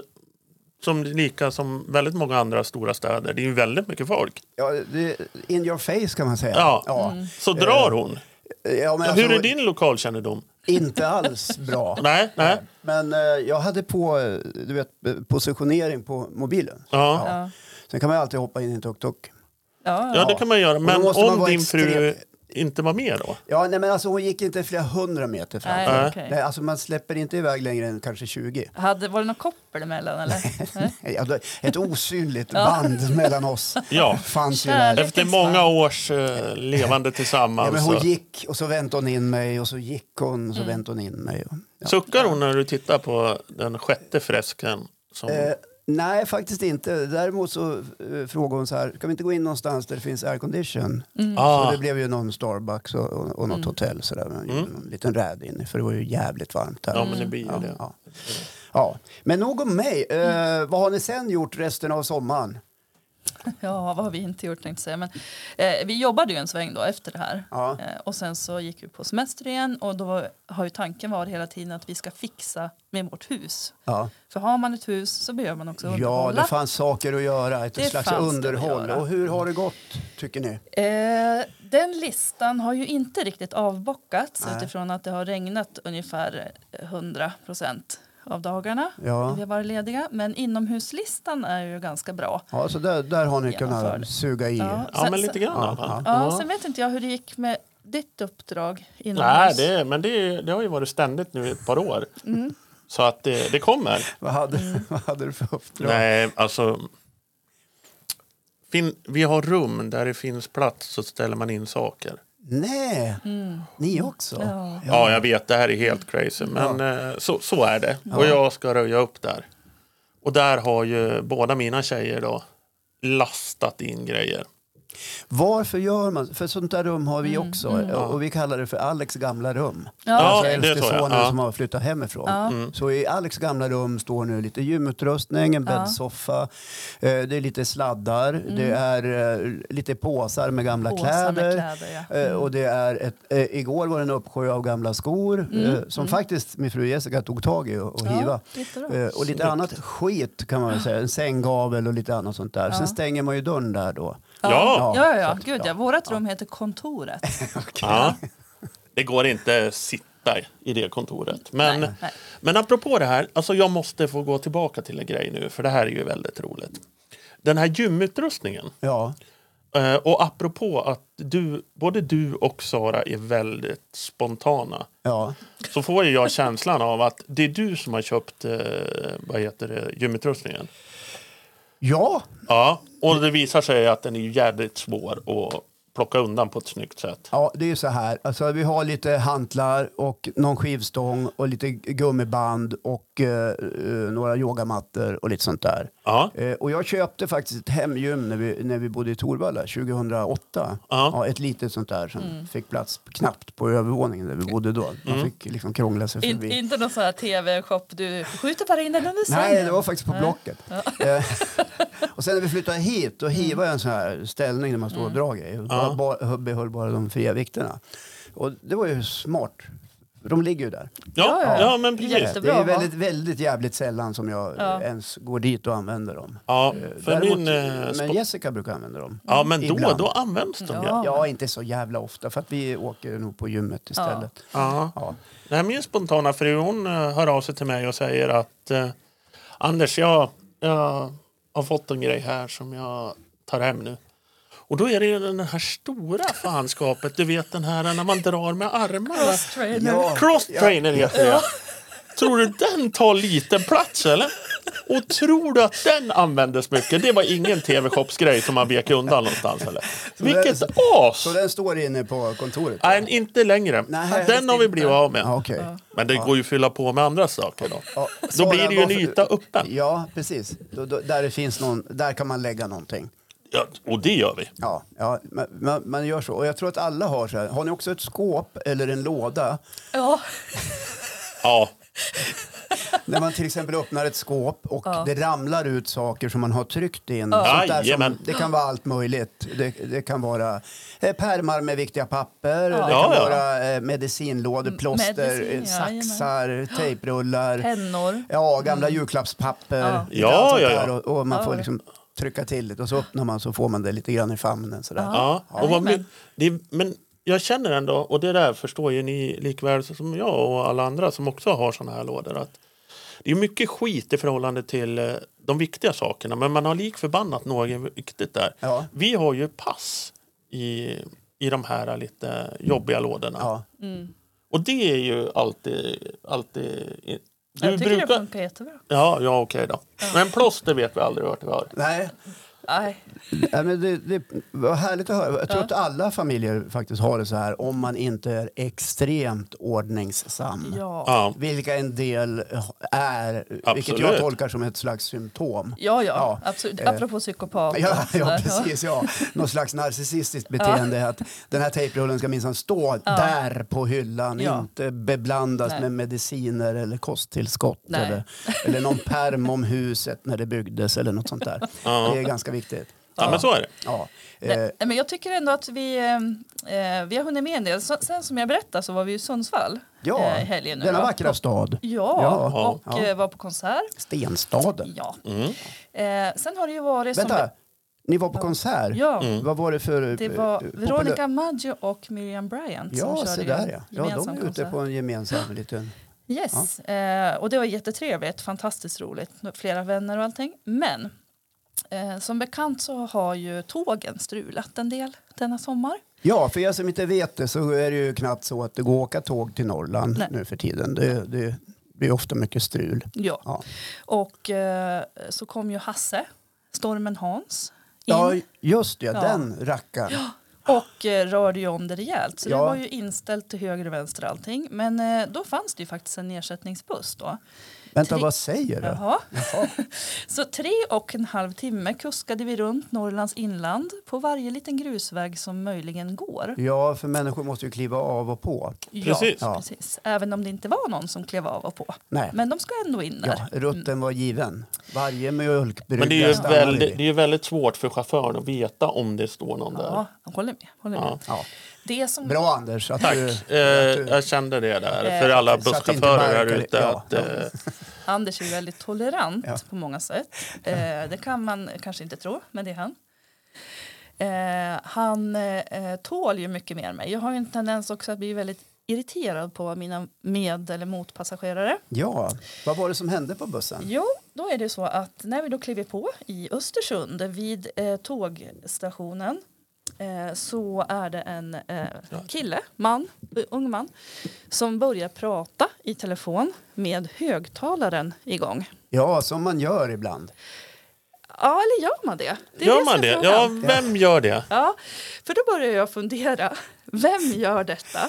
som lika som väldigt många andra stora städer, det är ju väldigt mycket folk. Ja, det, in your face kan man säga. Ja. Ja. Så drar hon. Ja, men Hur alltså, är din lokalkännedom? Inte alls bra. Nej, nej. Men eh, jag hade på eh, du vet, positionering på mobilen. Ja. Ja. Sen kan man ju alltid hoppa in i en tuk-tuk. Ja. ja, det kan man göra. då Men måste man om vara din fru extrem- inte var med då? Ja, nej, men alltså, hon gick inte flera hundra meter fram. Nej, Ja. okej. Nej, alltså, man släpper inte iväg längre än kanske 20. Hade, var det något koppel emellan eller? Nej. Ja, då- Ett osynligt band mellan oss Ja. fanns ju Kärlek. där. Efter många års eh, levande tillsammans. Ja, men hon Alltså. så- gick och så väntade hon in mig och så gick hon och så Mm. väntade hon in mig. Och, ja. Suckar hon när du tittar på den sjätte fresken? Som... Eh, nej, faktiskt inte. Däremot så eh, frågade hon så här, ska vi inte gå in någonstans där det finns aircondition? Mm. Så ah, det blev ju någon Starbucks och, och, och något hotell så där. Man gjorde någon liten räd in för det var ju jävligt varmt där. ja, men det blir ju det. Ja. Ja. Men nog om mig. Eh, Mm. vad har ni sen gjort resten av sommaren? Ja, vad har vi inte gjort tänkte jag säga. Men, eh, vi jobbade ju en sväng då efter det här. Ja. Eh, och sen så gick vi på semester igen och då var, har ju tanken varit hela tiden att vi ska fixa med vårt hus. Ja, För har man ett hus så behöver man också ja underhålla. det fanns saker att göra, ett Det slags fanns det att underhåll. göra. Och hur har det gått, tycker ni? Eh, den listan har ju inte riktigt avbockats Nej. utifrån att det har regnat ungefär eh, 100 procent av dagarna Ja. när vi har varit lediga. Men inomhuslistan är ju ganska bra. Ja, så där, där har ni Genomförde. kunnat suga i. Ja. Ja, men lite grann i alla fall. Ja, Sen vet inte jag hur det gick med ditt uppdrag Nej, inomhus. det, är- men det, är- det har ju varit ständigt nu i ett par år. Så att det, det kommer. Vad, hade, Mm. vad hade du för uppdrag? Nej, alltså. Fin, vi har rum där det finns plats så ställer man in saker. Nej. Ni också? Mm. Ja. Ja, jag vet, det här är helt crazy, men eh, så, så är det. Och jag ska röja upp där. Och där har ju båda mina tjejer då lastat in grejer. Varför gör man För sånt där rum har vi också. Och vi kallar det för Alex gamla rum. Mm. Ja. alltså Ja, det äldste tror jag. sonen Ja. Mm. som har flyttat hemifrån. Så i Alex gamla rum står nu lite gymutrustning, en bäddsoffa, eh, det är lite sladdar, det är eh, lite påsar med gamla Mm. Påsar med kläder. kläder, ja. Mm. eh, Och det är ett, eh, igår var det en uppsjö av gamla skor Mm. eh, som faktiskt min fru Jessica tog tag i och, och hiva. lite då. Eh, och lite annat skit kan man väl säga, en sänggavel och lite annat sånt där. Sen stänger man ju dörren där då. Ja. Ja, ja, ja. Gud ja. Vårat rum heter kontoret. Ja. Det går inte att sitta i det kontoret. Men, Nej, nej. men apropå det här, alltså jag måste få gå tillbaka till en grej nu för det här är ju väldigt roligt. Den här gymutrustningen Ja. eh, och apropå att du, både du och Sara är väldigt spontana Ja. så får ju jag känslan av att det är du som har köpt eh, vad heter det, gymutrustningen. Ja. Ja, och det visar sig att den är ju jävligt svår att plocka undan på ett snyggt sätt. Ja, det är ju så här. Alltså, vi har lite hantlar och någon skivstång och lite gummiband och eh, eh, några yogamattor och lite sånt där. Ja. Eh, och jag köpte faktiskt ett hemgym när vi, när vi bodde i Torvalla 2008. Ja. ett litet sånt där som fick plats knappt på övervåningen där vi bodde då. Man fick liksom krångla sig In, förbi. inte någon sån här tv-shop, du skjuter bara in den under sängen. Nej, det var faktiskt på Blocket. Eh, och sen när vi flyttade hit, då hivade jag en sån här ställning där man står och Mm. drar grejer. Och bara- bara- Behöll bara de fria vikterna. Och det var ju smart. De ligger ju där. Eh, Ja, Ja, ja, ja. men precis. Jätte- det bra, är va? väldigt, väldigt jävligt sällan som jag eh, Ja. ens går dit och använder dem. Ja, Eh, för Däremot, min, eh, men spo- Jessica brukar använda dem. ja, men då, ibland. då används de Ja. ju. Ja. Ja, inte så jävla ofta för att vi åker nog på gymmet istället. Ja. Det här min spontana fru, hon eh, hör av sig till mig och säger att eh, Anders, jag, jag har fått en grej här som jag tar hem nu. Och då är det ju den här stora fanskapet, du vet den här när man drar med armarna. Trainer. Ja. Cross trainer heter det. Tror du den tar liten plats eller? Och tror du att den användes mycket? Det var ingen tv-shopsgrej som man vek undan någonstans eller? Vilket as! Så den står inne på kontoret? Nej, inte längre. Nej, den har vi blivit av Ja, med. okej. Men det går ju att fylla på med andra saker då. Ja, Då Sara, blir det ju en varför- yta öppen. Ja, precis. Då, då, där, det finns någon, där kan man lägga någonting. Ja, och det gör vi. Ja, ja man, man, man gör så. Och jag tror att alla har så här. Har ni också ett skåp eller en låda? Ja. Ja, När man till exempel öppnar ett skåp och det ramlar ut saker som man har tryckt in. Sånt där som, Jajamän. det kan vara allt möjligt. Det, det kan vara eh, pärmar med viktiga papper, det kan Ja, ja. vara eh, medicinlådor, plåster, medicin, eh, ja, saxar, tejprullar. Pennor. Mm. Ja, gamla julklappspapper. Ja. lite Ja, allt sånt ja, där. ja. Och, och man får Ja. liksom trycka till det och så öppnar man så får man det lite grann i famnen. Sådär. Ja, och vad, Jajamän. det, är- men jag känner ändå, och det där förstår ju ni likväl som jag och alla andra som också har sådana här lådor, att det är mycket skit i förhållande till eh, de viktiga sakerna, men man har lik förbannat något viktigt där. Ja. Vi har ju pass i, i de här lite jobbiga lådorna. Ja. Och det är ju alltid... alltid i- du Jag tycker det funkar jättebra. Ja, ja okej då. Men plåster vet vi aldrig vart vi har. Nej, Nej. nej, men det, det var härligt att höra. Jag tror att alla familjer faktiskt har det så här om man inte är extremt ordningsam. Ja. Ja. Ja. Vilka en del är, vilket jag Absolut. tolkar som ett slags symptom. Ja, Ja. absolut. Eh. Apropå psykopat. Ja, och ja sådär. precis. Ja. Någon slags narcissistiskt beteende. Att den här tejprullen ska minsann stå där på hyllan. Ja. Inte beblandas Nej. med mediciner eller kosttillskott. Nej. Eller, eller någon perm om huset när det byggdes eller något sånt där. Det är ganska viktigt. ja, men så är det. Ja. Eh, Nej, men jag tycker ändå att vi, eh, vi har hunnit med en del. Så- Sen som jag berättade så var vi ju i Sundsvall ja. eh, i helgen. Nu Denna då. vackra stad. Ja, Ja. och Ja. eh, var på konsert. Stenstaden. Ja. Eh, sen har det ju varit... Vänta, Som, ni var på konsert. ja, Mm. Vad var det för... det eh, var eh, Veronica populär- Maggio och Miriam Bryant Ja, som se körde där ju ja. Ja, de gemensam är ute konsert. på en gemensam liten... Yes, eh, och det var jättetrevligt, fantastiskt roligt, flera vänner och allting. Men eh, som bekant så har ju tågen strulat en del denna sommar. Ja, för er som inte vet det så är det ju knappt så att det går att åka tåg till Norrland Nej. nu för tiden. Det, det blir ofta mycket strul. Ja. Ja. Och eh, så kom ju Hasse, Stormen Hans, in Ja, just det, ja. Ja. den rackaren. och eh, rörde ju om det rejält. Så Ja. det var ju inställt till höger och vänster och allting. Men eh, då fanns det ju faktiskt en ersättningsbuss då. Vänta, Tre- vad säger du? Jaha. så tre och en halv timme kuskade vi runt Norrlands inland på varje liten grusväg som möjligen går. Ja, för människor måste ju kliva av och på. Precis. Ja, precis. Även om det inte var någon som klev av och på. Nej. Men de ska ändå in där. Ja, rutten var given. Varje mjölkbrygga Men det är ju stannade väldigt, vid. det är ju väldigt svårt för chauffören att veta om det står någon där. Ja, jag håller med. Håller med. Ja. Ja. Det som Bra Anders att Tack. du... Eh, jag kände det Eh, där för alla så att det inte busschaufförer här verkar- ute. ja, att, ja. eh, Anders är väldigt tolerant Ja. på många sätt. Eh, det kan man kanske inte tro, men det är han. Eh, han eh, tål ju mycket mer än mig. Jag har ju en tendens också att bli väldigt irriterad på mina med eller motpassagerare. Ja, vad var det som hände på bussen? Jo, då är det så att när vi då kliver på i Östersund vid eh, tågstationen eh, så är det en eh, kille, man, u- ung man som börjar prata i telefon med högtalaren igång. Ja, som man gör ibland. Ja, eller gör man det? det är Gör som man är det? frågan. Ja, vem gör det? Ja, för då började jag fundera. Vem gör detta?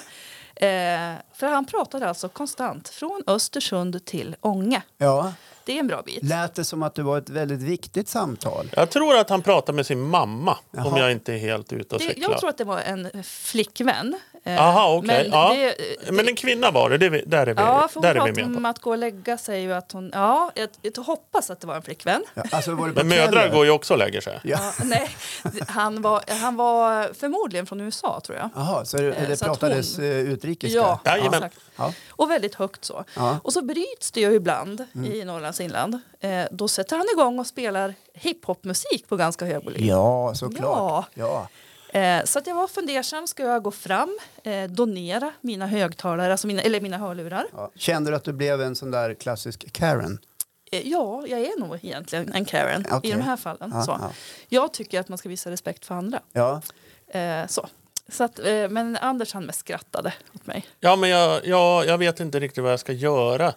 Eh, för han pratade alltså konstant från Östersund till Ånge. Ja, Det är en bra bit. lät det som att det var ett väldigt viktigt samtal? Jag tror att han pratar med sin mamma, om Jaha. jag inte är helt ute och Det, cyklar. jag tror att det var en flickvän. Eh, Aha, okej. Men ja. det, men en kvinna var det, det är vi, där är vi, ja, för hon där är vi pratade med om på. att gå och lägga sig och att hon... Ja, jag, jag hoppas att det var en flickvän. Ja, alltså var det på Men mödrar kvällen? går ju också och lägger sig. Ja. Ja, nej, han var, han var förmodligen från USA tror jag. Jaha, så det, Eh, det så att pratades hon- eh, utrikiska? Ja, Jajamän. exakt. Ja. Och väldigt högt så. Ja. Mm. Och så bryts det ju ibland i Norrlands inland. Eh, då sätter han igång och spelar hiphopmusik på ganska hög volym. Ja, såklart. Ja. Ja. Eh, så att jag var fundersam, ska jag gå fram, eh, donera mina högtalare, alltså mina, eller mina hörlurar? Kände du att du blev en sån där klassisk Karen? Eh, ja, jag är nog egentligen en Karen Okej. i de här fallen. Ja, så. ja. Jag tycker att man ska visa respekt för andra. Ja, Eh, så. Så att, eh, men Anders han mest skrattade åt mig. Ja, men jag, jag, jag vet inte riktigt vad jag ska göra.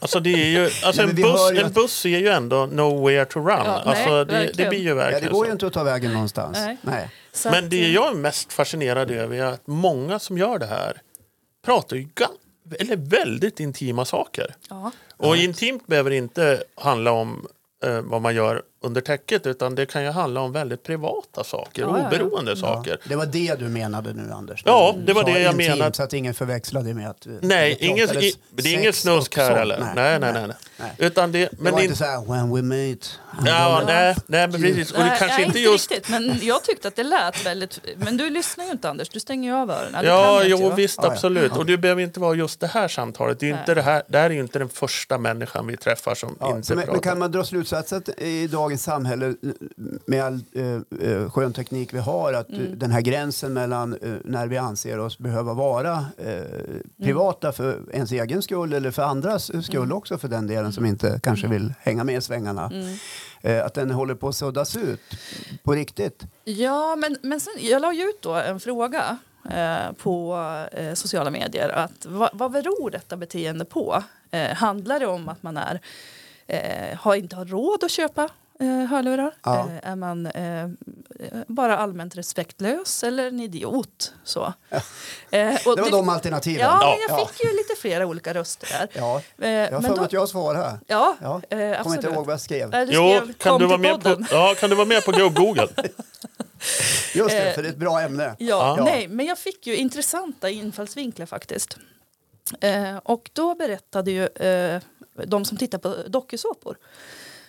Alltså, det är ju, alltså Nej, men en, vi buss, hör ju en att- buss är ju ändå nowhere to run. Ja, alltså, det, nej, det verkligen. blir ju ja det går ju verkligen så. inte att ta vägen någonstans. Nej. Nej. Så Men att, det eh, jag är mest fascinerad över är att många som gör det här pratar ju gan- eller väldigt intima saker. ja. Och intimt behöver inte handla om eh, vad man gör under täcket utan det kan ju handla om väldigt privata saker, Ja, ja, ja. oberoende saker. Det var det du menade nu, Anders? Ja, När du det var sa det jag intimt, menade. Så att ingen förväxlade med att... eh, Nej, det ingen, pratades i, det är sex ingen snusk här och eller? sånt. Nej, nej, nej. nej, nej. Utan det, det men var in, inte så här, when we meet. ja, nej, nej, men precis. Och det Nej, kanske nej, inte just... riktigt, men jag tyckte att det lät väldigt... Men du lyssnar ju inte, Anders. Du stänger ju av öronen. Det kan Ja, jag inte jo, göra. visst, Ja, ja. absolut. Och det behöver inte vara just det här samtalet. Det, är ju inte Nej. det, här, det här är ju inte den första människan vi träffar som Ja, inte så men, pratar. men kan man dra slutsatsen att i dagens samhälle eh, med all eh, eh, skön teknik vi har att eh, Mm. den här gränsen mellan eh, när vi anser oss behöva vara eh, privata för ens egen skull eller för andras eh, skull Mm. också för den delen som inte kanske vill hänga med i svängarna. Eh, att den håller på att suddas ut på riktigt. Ja, men, men sen, jag la ju ut då en fråga eh, på eh, sociala medier. Att, vad, vad beror detta beteende på? Eh, handlar det om att man är, eh, har, inte har råd att köpa eh, hörlurar? Ja. Eh, är man eh, bara allmänt respektlös eller en idiot? Så. Eh, och Det var det- de alternativen. Ja, men Ja. jag fick ju lite flera olika röster där. Ja. Eh, Jag har för mig att jag svarade. Ja, Ja. eh, absolut. Eh, Kommer inte ihåg vad jag skrev. Nej, du Jo, skrev, kan "Kom du, vara till med på, podden." ja, kan du vara med på Go Google? Just det, eh, för det är ett bra ämne. Ja, Nej, men jag fick ju intressanta infallsvinklar faktiskt. Eh, och då berättade ju eh, de som tittar på dokusåpor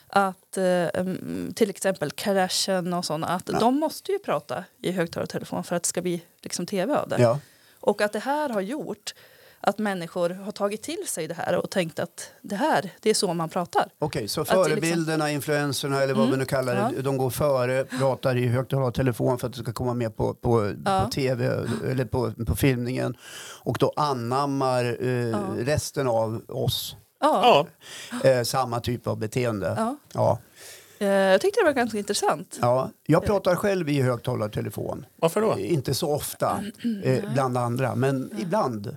att eh, mm, till exempel Kardashian och sådana, att de måste ju prata i högtalartelefon för att det ska bli liksom tv av det. Ja. Och att det här har gjort att människor har tagit till sig det här och tänkt att det här, det är så man pratar. Okej, så det liksom- Mm. förebilderna, influenserna eller vad vi nu kallar det, de går före, pratar i högtalartelefon för att det ska komma med på, på, på tv eller på, på filmningen och då anammar eh, resten av oss Ja, eh, samma typ av beteende. Ja. Ja. Eh, jag tyckte det var ganska intressant. Ja. Eh. Jag pratar själv i högtalartelefon. varför då? Inte så ofta Mm, eh, bland andra, men ibland.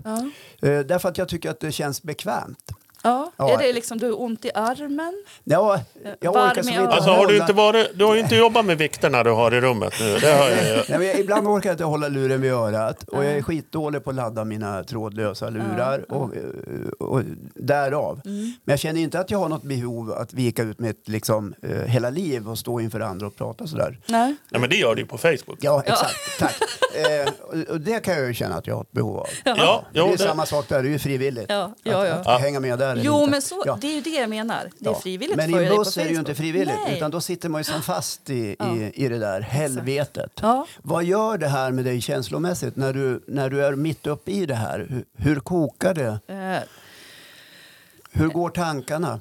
Eh, därför att jag tycker att det känns bekvämt. Ja. Ja. Är det liksom du har ont i armen? Ja, jag Varm orkar som i inte öronen. Alltså, har du, hålla- inte varit, du har ju inte jobbat med vikterna du har i rummet nu. Det hör jag ju. Nej, men jag, ibland orkar jag inte hålla luren vid örat och jag är skitdålig på att ladda mina trådlösa lurar och, och, och därav. Mm. Men jag känner inte att jag har något behov att vika ut mitt liksom, eh, hela liv och stå inför andra och prata sådär. Nej. Nej, men det gör du ju på Facebook. Ja, Ja, exakt. Tack. Eh, och, och det kan jag ju känna att jag har ett behov av. ja, det är ju det, samma sak där, det är ju frivilligt. Ja, ja, att, ja. Att hänga med där eller Jo, inte. men så, Ja. det är ju det jag menar. Det är Ja. frivilligt Men för i dig på buss är det ju Facebook. inte frivilligt, Nej. utan då sitter man ju som fast i, i, i det där helvetet. Ja. Vad gör det här med dig känslomässigt när du, när du är mitt uppe i det här? Hur, hur kokar det? Eh, Hur går tankarna?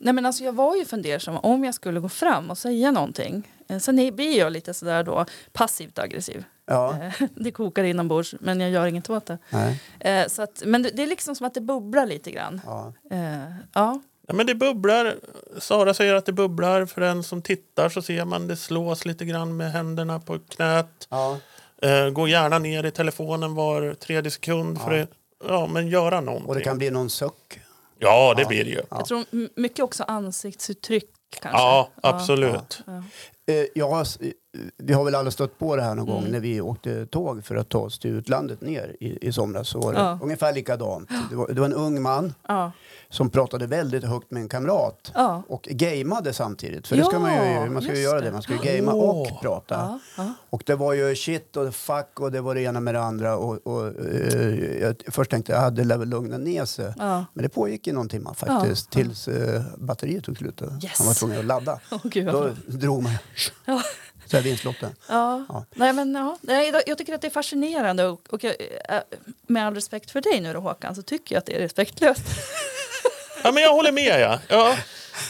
nej, men alltså, jag var ju fundersam om jag skulle gå fram och säga någonting. Eh, Sen är- blir jag lite sådär då passivt aggressiv. Ja. Eh, Det kokar inombords men jag gör inget åt det. Nej. Eh, Så att, men det, det är liksom som att det bubblar lite grann. Ja. Eh, Ja, Ja, men det bubblar. Sara säger att det bubblar. För den som tittar så ser man det slås lite grann med händerna på knät. Ja. Eh, gå gärna ner i telefonen var tredje sekund. För det, ja, men göra Och det någonting. kan bli någon suck. Ja, det blir det ju. jag tror m- mycket också ansiktsuttryck kanske. Ja, absolut. Eh, Jag, vi har väl alla stött på det här någon Mm. gång när vi åkte tåg för att ta oss till utlandet ner i, i somras. Så var det Ja. ungefär likadant. Det var, det var en ung man Ja. som pratade väldigt högt med en kamrat Ja. och gameade samtidigt. För det ska man ju, Ja, man ska ju just göra det. det. Man ska ju gamea och prata. Ja, ja. Och det var ju shit och fuck och det var det ena med det andra. Och, och, eh, jag först tänkte jag att det lär väl lugna ner sig. Ja. Men det pågick i någon timme faktiskt tills eh, batteriet tog slut. Yes. Han var tvungen att ladda. Åh, gud, vad Då drog man Ja. så här vinstlotten. Ja. Ja. Nej, men, ja. Nej, då- jag tycker att det är fascinerande och, och jag, eh, med all respekt för dig nu då Håkan så tycker jag att det är respektlöst. Ja, men jag håller med. Ja. Ja.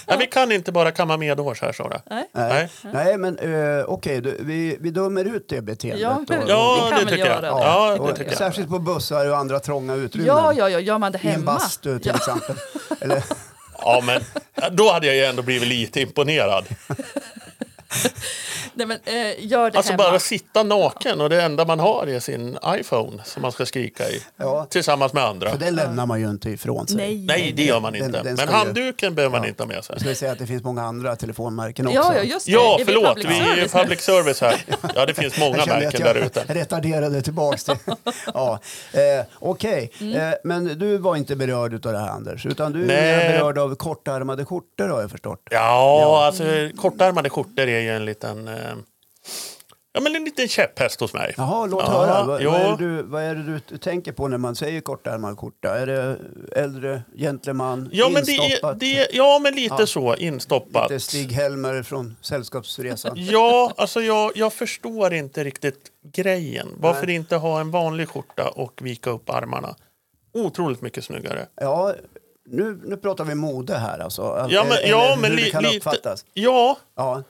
Ja, vi kan inte bara kamma medhårs här, Sara. Nej. Nej. Nej men eh, okej, du- vi, vi dömer ut det beteendet. Ja, men- och, Ja, Vi kan det väl tycker jag. göra det. Ja, och, det tycker jag. särskilt på bussar och andra trånga utrymmen. Ja, ja, ja, gör man det I en hemma. bastu typ. till exempel. Eller, Ja, men då hade jag ju ändå blivit lite imponerad. Nej, men, eh, gör det Alltså hemma. bara sitta naken och det enda man har är sin iPhone som man ska skrika i Ja. tillsammans med andra. för det lämnar man ju inte ifrån sig. Nej. Nej, det gör man Den- inte. den ska Men ju- handduken behöver man inte ha med sig. Ska vi säga att det finns många andra telefonmärken också? Ja, ja, just det. Ja, Är förlåt. public Vi är ju service nu? public service här. Ja, det finns många Jag kände märken att där jag ute. retarderade tillbaks till... ja. eh, Okej, Mm. eh, men du var inte berörd av det här Anders, utan du är Nej. mer berörd av kortärmade skjortor har jag förstått. Ja, alltså kortärmade skjortor är ju en liten... Eh, ja, men en liten käpphäst hos mig. Jaha, låt Ja, höra. Vad, jo. vad, är det du, vad är det du tänker på när man säger kortärmad skjorta? Är det äldre gentleman, Ja, men det är, instoppat? det är, ja, men lite så. Instoppat. Det är Stig-Helmer från Sällskapsresan. Ja, alltså jag, jag förstår inte riktigt grejen. Varför inte ha en vanlig skjorta och vika upp armarna? Otroligt mycket snyggare. Ja, nu, nu pratar vi mode här alltså. Ja, men, Eller ja, men hur li- det kan lite- uppfattas. Ja, Ja,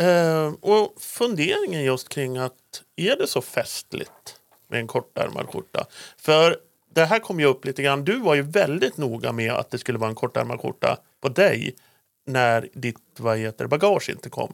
eh, och funderingen just kring att är det så festligt med en kortärmad skjorta? För det här kom ju upp lite grann. Du var ju väldigt noga med att det skulle vara en kortärmad skjorta på dig när ditt vad heter, det, bagage inte kom.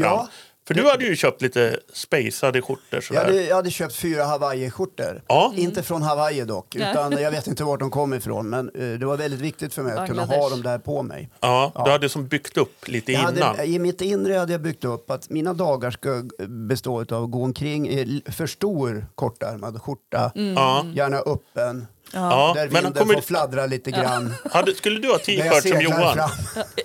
Fram. Ja. För du hade ju köpt lite spejsade skjortor. Jag Sådär. hade, jag hade köpt fyra Hawaii-skjortor. Ja. Inte från Hawaii dock, Nej. utan jag vet inte vart de kom ifrån. Men eh, det var väldigt viktigt för mig att kunna ha Bangladesh. dem där på mig. Ja, du hade som byggt upp lite Jag innan. hade, I mitt inre hade jag byggt upp att mina dagar ska bestå av att gå omkring i l- för stor kortärmad skjorta, Ja. gärna öppen, Mm. Ja, där men vinden kommer- får fladdra lite grann. Hade, skulle du ha Där jag t-shirt som seglar Johan? fram,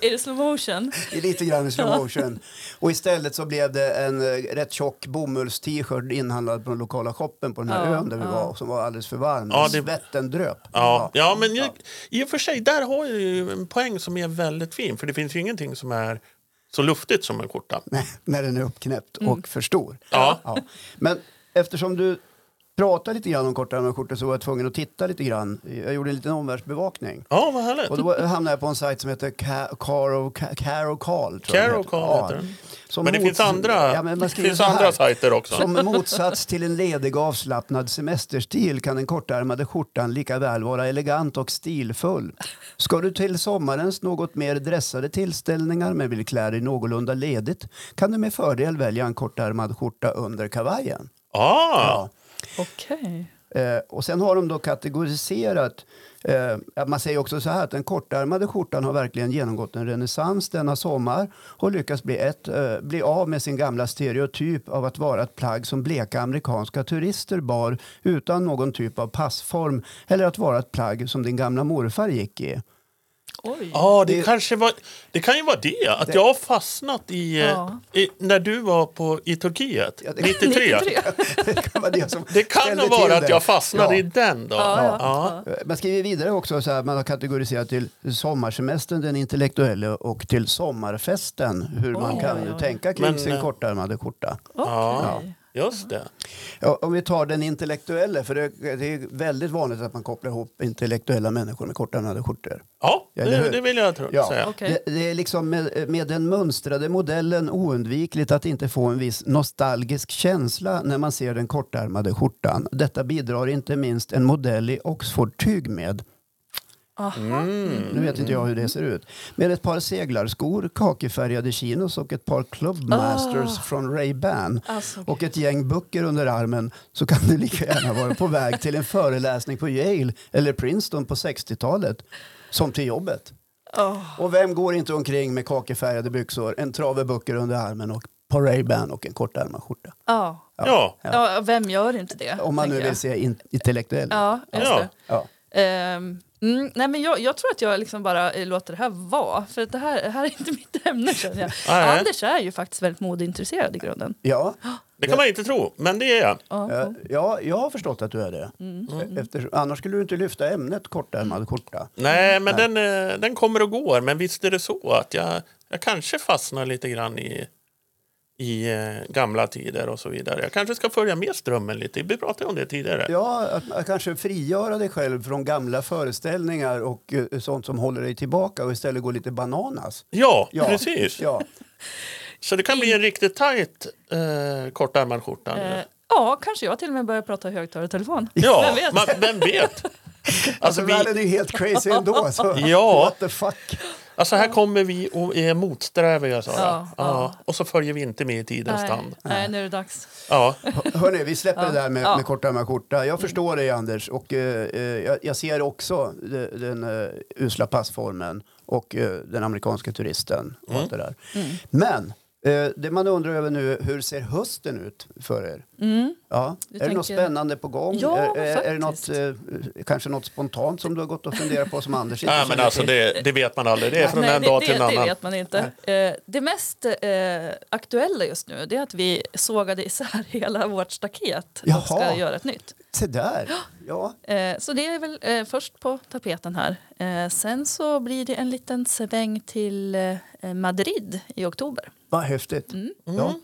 Är det slow motion? i lite grann i slow motion. Och istället så blev det en eh, rätt tjock bomulls-t-shirt inhandlad på den lokala shoppen på den här Ja, ön där vi var, som var alldeles för varm. Ja, det- Svetten dröp. Ja, ja men jag, i och för sig, där har jag ju en poäng som är väldigt fin. För det finns ju ingenting som är så luftigt som en skjorta. Nej, när den är uppknäppt Mm. och för stor. Ja. Men eftersom du pratade lite grann om kortärmade skjortor så var jag tvungen att titta lite grann. Jag gjorde en liten omvärldsbevakning. Ja, vad härligt. Och då var- hamnade jag på en sajt som heter Ca- Car of Ca- Car of Carl. tror jag Care den of Carl heter den. Som Men det mot- finns andra, Ja, men man det skriver finns så här. andra sajter också. Som motsats till en ledig avslappnad semesterstil kan den kortärmade skjortan lika väl vara elegant och stilfull. Ska du till sommarens något mer dressade tillställningar men vill klä dig någorlunda ledigt kan du med fördel välja en kortärmad skjorta under kavajen. Ah, Okej. Eh, och sen har de då kategoriserat, eh, att man säger också så här att den kortärmade skjortan har verkligen genomgått en renässans denna sommar och lyckats bli, ett, eh, bli av med sin gamla stereotyp av att vara ett plagg som bleka amerikanska turister bar utan någon typ av passform eller att vara ett plagg som din gamla morfar gick i. Oj. ah, det, kanske var, det kan ju vara det, att jag har fastnat i, eh, Ja. i när du var på, i Turkiet Ja, det- 93. det kan vara det som Det kan ställde nog vara till att det. jag fastnade Ja. i den då. Ja, Ja. Eh, Man skriver vidare också så här, man har kategoriserat till sommarsemestern, den intellektuella och till sommarfesten, hur man Oj, kan oj, oj. tänka kring Men, sin eh, kortärmade skjorta. Okej. Ja. Just det. Ja, om vi tar den intellektuelle, för det, det är väldigt vanligt att man kopplar ihop intellektuella människor med kortärmade skjortor. Ja, Ja, eller hur? det, det vill jag tro, Ja. säga. Okej. Det, det är liksom med, med den mönstrade modellen oundvikligt att inte få en viss nostalgisk känsla när man ser den kortärmade skjortan. Detta bidrar inte minst en modell i Oxford-tyg med. Aha. Mm. Nu vet inte jag hur det ser ut. Med ett par seglarskor, kakifärgade chinos och ett par Clubmasters Ah. från Ray-Ban Alltså, och ett gäng böcker under armen så kan du lika gärna vara på väg till en föreläsning på Yale eller Princeton på 60-talet som till jobbet. Och vem går inte omkring med kakefärgade byxor, en trave böcker under armen och på Ray-Ban och en kortärmad skjorta? Ja. Ja. ja, vem gör inte det? Om man nu tänker jag. vill se in- intellektuell. Ja, just Ja. det. Ja. Ehm, mm, nej men jag, jag tror att jag liksom bara eh, låter det här vara, för att det här, det här är inte mitt ämne känner jag. Nej. Anders är ju faktiskt väldigt modeintresserad i grunden. Ja. Det kan man inte tro, men det är jag. Ja. Eh, Ja, jag har förstått att du är det. Mm. E- Efter, annars skulle du inte lyfta ämnet kortärmad skjorta. Nej, men Den, eh, den kommer och går. Men visst är det så att jag, jag kanske fastnar lite grann i, i eh, gamla tider och så vidare. Jag kanske ska följa med strömmen lite. Vi pratade om det tidigare. Ja, att, att kanske frigöra dig själv från gamla föreställningar och eh, sånt som håller dig tillbaka och istället gå lite bananas. Ja, Ja. precis. Alltså Ja, Så det kan bli en riktigt tajt eh, kortärmad skjorta. Eh, ja, kanske jag till och med börjar prata i högtalartelefon. ja, vem vet? Man, vem vet? alltså Alltså, vi, världen är ju helt crazy ändå. Så. Ja. What the fuck. alltså här kommer vi och är motsträviga, Sara. Ja, Ja, ja. Och så följer vi inte med i tidens Nej, tand. nej, nu är det dags. Ja. Hörni, vi släpper det där med, Ja. Mm. med kortärmad skjorta. Jag förstår dig Anders och eh, eh, jag, jag ser också de- den eh, usla passformen och eh, den amerikanska turisten och Mm. allt det där. Mm. Men eh, det man undrar över nu, hur ser hösten ut för er? Ja. Är det något Mm. tänker- spännande på gång? Ja, är, är, är det något, faktiskt. eh, kanske något spontant som du har gått och funderat på som Anders inte Nej, men känner alltså till? det, det vet man aldrig. Det är från Nej, en det, dag det, till en Det annan. vet man inte. Eh, det mest eh, aktuella just nu det är att vi sågade isär hela vårt staket Jaha. och ska göra ett nytt. Se där! Ja. Eh, så det är väl eh, först på tapeten här. Eh, sen så blir det en liten sväng till eh, Madrid i oktober. Vad häftigt. Mm. Ja. Mm.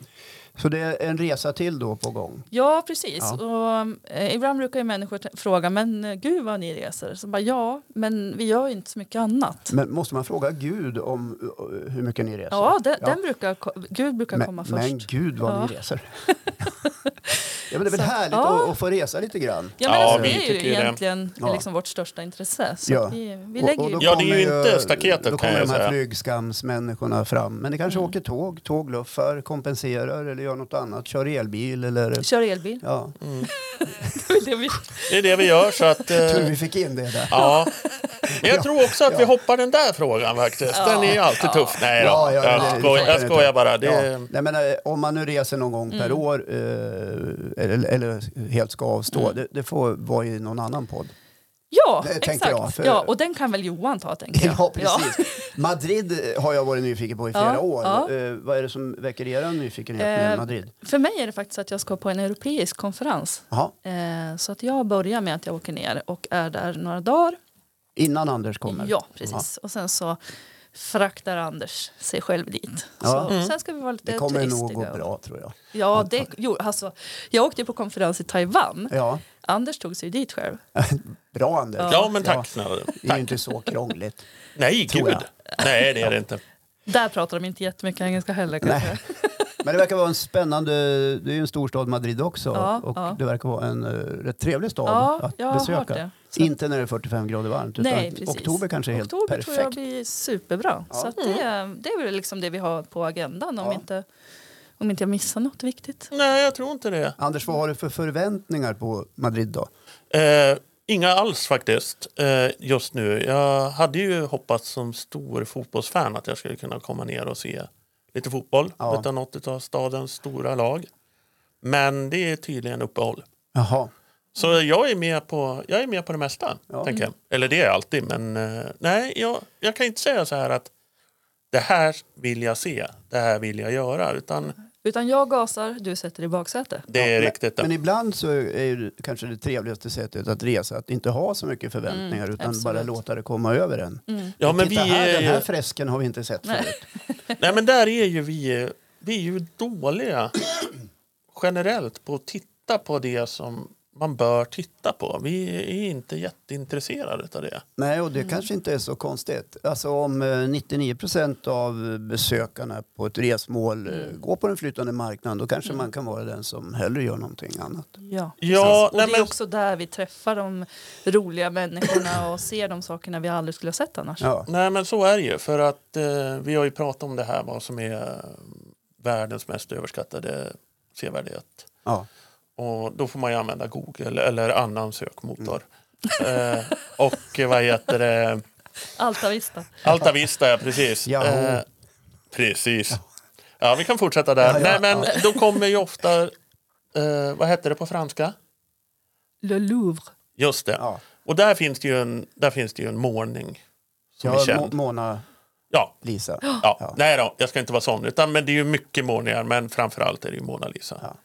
Så det är en resa till då på gång? Ja, precis. Och, eh, ibland brukar ju människor t- fråga, men eh, gud vad ni reser. Så bara, ja, men vi gör ju inte så mycket annat. Men måste man fråga Gud om eh, hur mycket ni reser? Ja, den, Den brukar, ko- Gud brukar men, komma först. men Gud vad ni Ja. reser. ja, men det är väl Så- härligt ja. att, att få resa lite grann. Ja, men Ja, alltså, vi det är ju tycker ju det. egentligen Ja. liksom vårt största intresse. Så Ja. vi, vi Och- lägger och då ju... Ja, det är ju kommer inte staketet, Då kan kommer jag de här säga. flygskamsmänniskorna fram. Men det kanske Mm. åker tåg, tågluffar, kompenserar eller gör något annat. Kör elbil eller... Kör elbil. Ja, Det är väl det vi- Det är det vi gör. Så att, eh, tur vi fick in det där. Ja. Men jag tror också att vi hoppar den där frågan faktiskt. Den är ju alltid tuff. Nej då, Ja, ja, jag, det- det- skojar, jag det- skojar bara. Det, Ja. Nej, men, eh, om man nu reser någon gång Mm. per år eh, eller, eller helt ska avstå, Mm. det, det får vara i någon annan podd. Ja, Det tänker exakt. jag, för- Ja, och den kan väl Johan ta, tänker jag. Ja, precis. Madrid har jag varit nyfiken på i flera Ja, år. ja. Eh, vad är det som väcker er nyfikenhet Eh, med Madrid? För mig är det faktiskt att jag ska på en europeisk konferens. Jaha, Eh, så att jag börjar med att jag åker ner och är där några dagar. innan Anders kommer? Ja, precis. Och sen så fraktar Anders sig själv dit. Ja. Mm. Så, Sen ska vi vara lite Det kommer nog turistiga gå och- bra, tror jag. Ja, det, jo, alltså, jag åkte ju på konferens i Taiwan. Ja, Anders tog sig dit själv. bra Anders. ja, men tack snälla. Det är ju inte så krångligt. Nej, Tror gud. jag. Nej, det är det inte. Där pratar de inte jättemycket engelska heller. kanske. Nej. Men det verkar vara en spännande... Det är ju en storstad, Madrid också. Ja, och ja. det verkar vara en eh, rätt trevlig stad Ja, att jag har besöka. hört det. Så- Inte när det är 45 grader varmt, utan Nej, precis. oktober kanske är helt oktober tror jag perfekt. Mm. blir superbra. Så att det, det är väl liksom det vi har på agendan om, inte, om inte jag missar något viktigt. Nej, jag tror inte det. Anders, vad har du för förväntningar på Madrid då? Eh, inga alls faktiskt eh, just nu. Jag hade ju hoppats som stor fotbollsfan att jag skulle kunna komma ner och se lite fotboll Ja. utan något av stadens stora lag. Men det är tydligen uppehåll. Jaha. Så jag är med på, jag är med på det mesta. Tänker Mm. jag. Eller det är jag alltid. Men eh, nej, jag, jag kan inte säga så här att det här vill jag se, det här vill jag göra. Utan Utan jag gasar, du sätter dig i baksätet. det är riktigt. Men ibland så är ju kanske det trevligaste sättet att resa att inte ha så mycket förväntningar utan Mm, absolut. Mm. bara låta det komma över en. ja, men vi Titta här, är den här ju, fresken har vi inte sett förut. nej, men där är ju vi, vi är ju dåliga generellt på att titta på det som man bör titta på. Vi är inte jätteintresserade av det. Nej, och det Mm. kanske inte är så konstigt. Alltså om eh, 99 procent av besökarna på ett resmål eh, Mm. går på den flyttande marknaden då kanske man kan vara den som hellre gör någonting annat. Ja. Ja, Och nej, det är men, också där vi träffar de roliga människorna och ser de sakerna vi aldrig skulle ha sett annars. Ja, nej men så är det ju. För att eh, vi har ju pratat om det här vad som är eh, världens mest överskattade sevärdhet. ja. Och då får man ju använda Google eller annan sökmotor. Mm. Eh, och eh, vad heter det? Alta Vista. Alta Vista, ja precis. Jaha. Eh, precis. Ja, vi kan fortsätta där. Ja, ja, Nej, men då kommer ju ofta, eh, vad heter det på franska? Le Louvre. Just det. Ja. Och där finns det ju en, där finns det ju en målning som är ja känd. Mo- Mona ja, Lisa. ja. Nej då, jag ska inte vara sån. Utan, men det är ju mycket målningar, men framförallt är det ju Mona Lisa.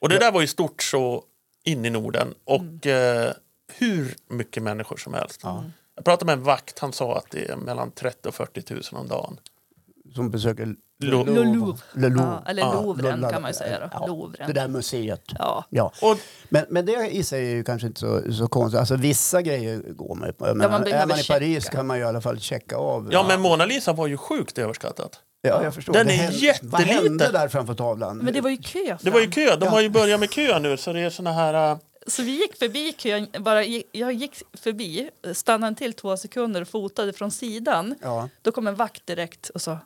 Och det där var ju stort så in i Norden och eh, hur mycket människor som helst. Jag pratade med en vakt, han sa att det är mellan 30 000 och 40 000 om dagen. Som besöker Lo- Le Louvre. Le Louvre. Ja, eller Louvren kan man ju säga då. Ja, Louvren. Det där museet. Ja. Ja. Och Men, men det i sig är ju kanske inte så, så konstigt. Alltså vissa grejer går man ju på. Jag menar, man är behöver man i Paris checka. kan man ju i alla fall checka av. Ja, men Mona Lisa var ju sjukt överskattat. Ja, jag förstår. Den Det är hände- jätteliten. Vad hände där framför tavlan? Men det var ju kö Det fram. var ju kö. De har ju börjat med kö nu, så det är såna här... äh, Så vi gick förbi kön, bara, gick- jag gick förbi, stannade en till två sekunder och fotade från sidan. Ja. Då kom en vakt direkt och sa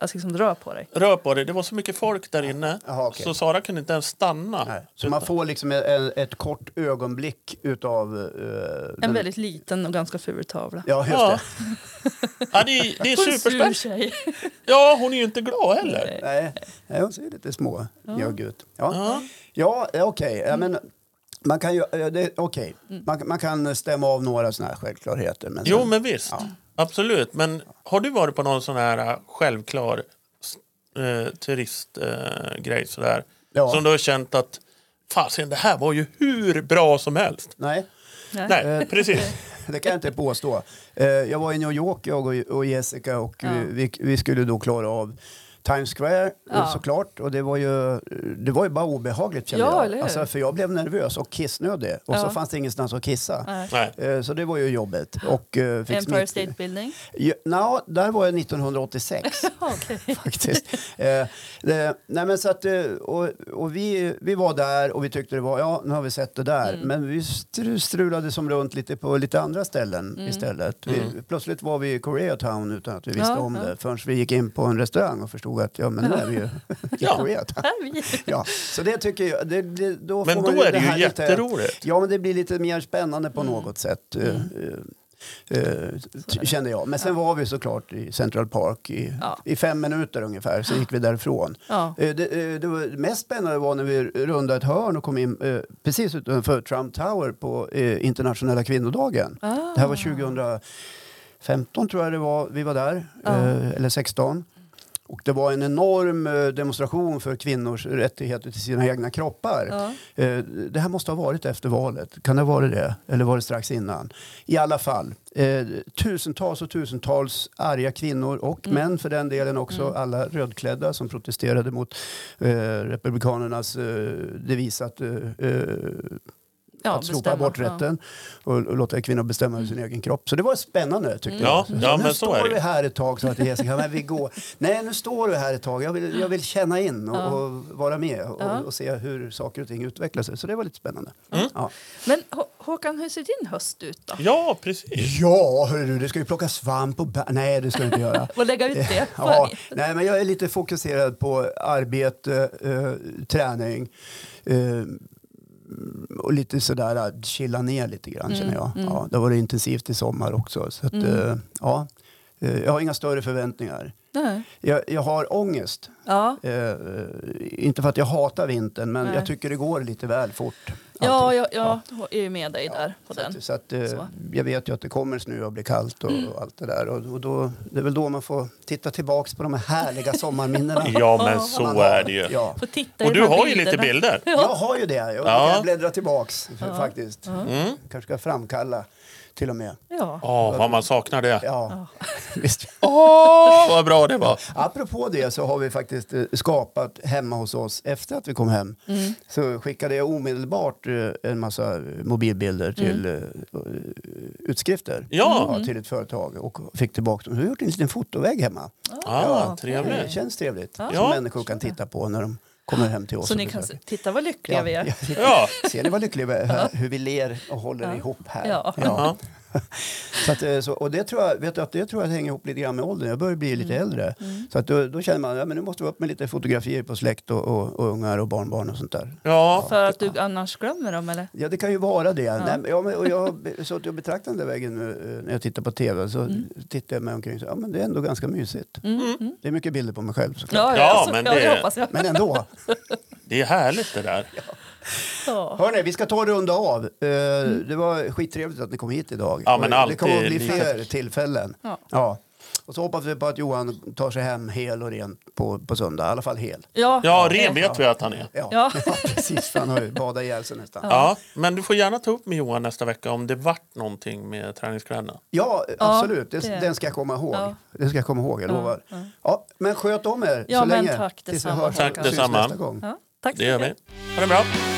jag ska liksom dra på dig. Rör på det. Det var så mycket folk där inne, Jaha, okej. så Sara kunde inte ens stanna. Nej. Så man får liksom ett, ett kort ögonblick utav... eh, En den- väldigt liten och ganska ful tavla. Ja, just Ja. det. Ja, det är, det är Hon är sur superspännande. tjej. Ja, hon är ju inte glad heller. Nej, nej, hon ser lite små mjugg ut. Ja, ja eh, okej. Ja, men Mm. man kan ju... eh, det- Okej, man, man kan stämma av några sådana här självklarheter. Men Jo, sen- men visst. Absolut. Men har du varit på någon sån här äh, självklar äh, turistgrej sådär? Ja. Som du har känt att fasen, det här var ju hur bra som helst. Nej, Nej. Nej, precis. det kan jag inte påstå. Eh, Jag var i New York, jag och- och Jessica, och vi- vi, vi skulle då klara av Times Square eh, Ja. såklart. Och det var, ju, det var ju bara obehagligt kände Ja, eller jag. hur? Alltså, för jag blev nervös och kissnödig. Och så fanns det ingenstans att kissa. Nej. Nej. Eh, Så det var ju jobbigt. Och, eh, fick Empire smitt- State Building. Ja, nå, där var jag 1986 Okej. faktiskt. Eh, det, nej men så att, eh, och, och vi, vi var där och vi tyckte det var, ja nu har vi sett det där. Mm. Men vi stru- strulade som runt lite på lite andra ställen Mm. istället. Vi, Plötsligt var vi i Koreatown utan att vi visste Ja, om ja. det förrän vi gick in på en restaurang och förstod att ja men nu är vi ju i Ja. Koreatown. Här är vi. Ja, så det tycker jag. Det, det, då Men får man då är det ju här lite- jätteroligt. Ja, men det blir lite mer spännande Mm. på något sätt. eh, eh, eh, t- kände jag. Men sen var vi såklart i Central Park i, Ja. i fem minuter ungefär, sen gick vi därifrån. Ja. Eh, Det, eh, det var- det mest spännande var när vi rundade ett hörn och kom in eh, precis utanför Trump Tower på eh, internationella kvinnodagen. Ah. Det här var 2015 tror jag det var, vi var där, eh, eller 16. Och det var en enorm eh, demonstration för kvinnors rättigheter till sina egna kroppar. Eh, Det här måste ha varit efter valet. Kan det ha varit det? Eller var det strax innan? I alla fall, eh, tusentals och tusentals arga kvinnor och män för den delen också, alla rödklädda som protesterade mot eh, Republikanernas eh, devis att eh, eh, Ja, att slopa bestämma. Mm. aborträtten och, och låta kvinnor bestämma över sin egen kropp. Så det var spännande tyckte Ja, jag. ja, nu men så står är det. vi här ett tag så att Jessica, men vi går. Nej, nu står vi här ett tag. Jag vill, jag vill känna in och, och vara med och, och se hur saker och ting utvecklar sig. Så det var lite spännande. Mm. Ja, Ja. Men Hå- Håkan, hur ser din höst ut då? Ja, precis. ja hörru du, du ska ju plocka svamp och bär. Nej, det ska du inte göra. Och lägga ut det? Ja, nej, men jag är lite fokuserad på arbete, eh, träning eh, och lite sådär att chilla ner lite grann Mm, känner jag. Ja, det har varit intensivt i sommar också. Så att, eh, ja, eh, jag har inga större förväntningar. Nej. Jag, jag har ångest. Ja. Eh, eh, inte för att jag hatar vintern, men Nej. jag tycker det går lite väl fort. Ja, allting. jag, jag är ju med dig där på den. Så att, eh, Så. jag vet ju att det kommer snö och blir kallt och, och allt det där. Och, och då, det är väl då man får titta tillbaks på de här härliga sommarminnena. Ja, men så är det ju. Ja. Får titta i Och de du här har ju lite bilderna. bilder. Jag har ju det. Jag Ja. Mm. kan bläddra tillbaks f- faktiskt. Kanske ska framkalla till och med. Ja. Ja, vad man saknar det. Ja. Visst. Åh, vad bra det var. Apropå det så har vi faktiskt eh, skapat hemma hos oss efter att vi kom hem. Mm. Så skickade jag omedelbart eh, en massa mobilbilder Mm. till eh, utskrifter Ja. till ett företag och fick tillbaka dem. Du har gjort en liten fotovägg hemma. Ah, okej. Det trevligt. känns trevligt. Ja. Som människor kan titta på när de kommer hem till oss. Så och ni kan se, besöker. titta vad lyckliga vi är. Ja, Ser ni vad lyckliga vi är? Hur vi ler och håller ihop här. Ja. ja. Så att, eh, så, och det tror, jag, vet du, att det tror jag hänger ihop lite grann med åldern. Jag börjar bli lite äldre. Så att då, då känner man att ja, men nu måste vi upp med lite fotografier på släkt och, och, och ungar och barnbarn och sånt där. ja. För att du annars glömmer dem eller? Ja, det kan ju vara det. Nej, men, ja, men, och jag har be- suttit och betraktat den där vägen nu, eh, när jag tittar på tv. Så tittar jag mig omkring och ja, men det är ändå ganska mysigt. Det är mycket bilder på mig själv såklart. Ja, Ja, alltså, men ja, det det- hoppas jag. Men ändå. Det är härligt det där. Ja. Hörni, vi ska ta och runda av. Eh, Det var skittrevligt att ni kom hit idag. Ja, men det alltid kommer att bli lika. fler tillfällen. Ja. Och så hoppas vi på att Johan tar sig hem hel och ren på, på söndag. I alla fall hel. Ja. Ja, ren vet vi att han är. Ja, Ja. precis. För han har ju badat ihjäl sig nästan. Ja, Ja, men du får gärna ta upp med Johan nästa vecka om det vart någonting med träningskläderna. absolut. Det, det- Den ska jag komma ihåg. Ja. Den ska jag komma ihåg, jag lovar. Ja, men sköt om er Ja, så men länge. tack tills vi detsamma, hörs. Håkan. Tack Syns detsamma. nästa gång. Ja, tack så Det gör vi. mycket. Ha det bra.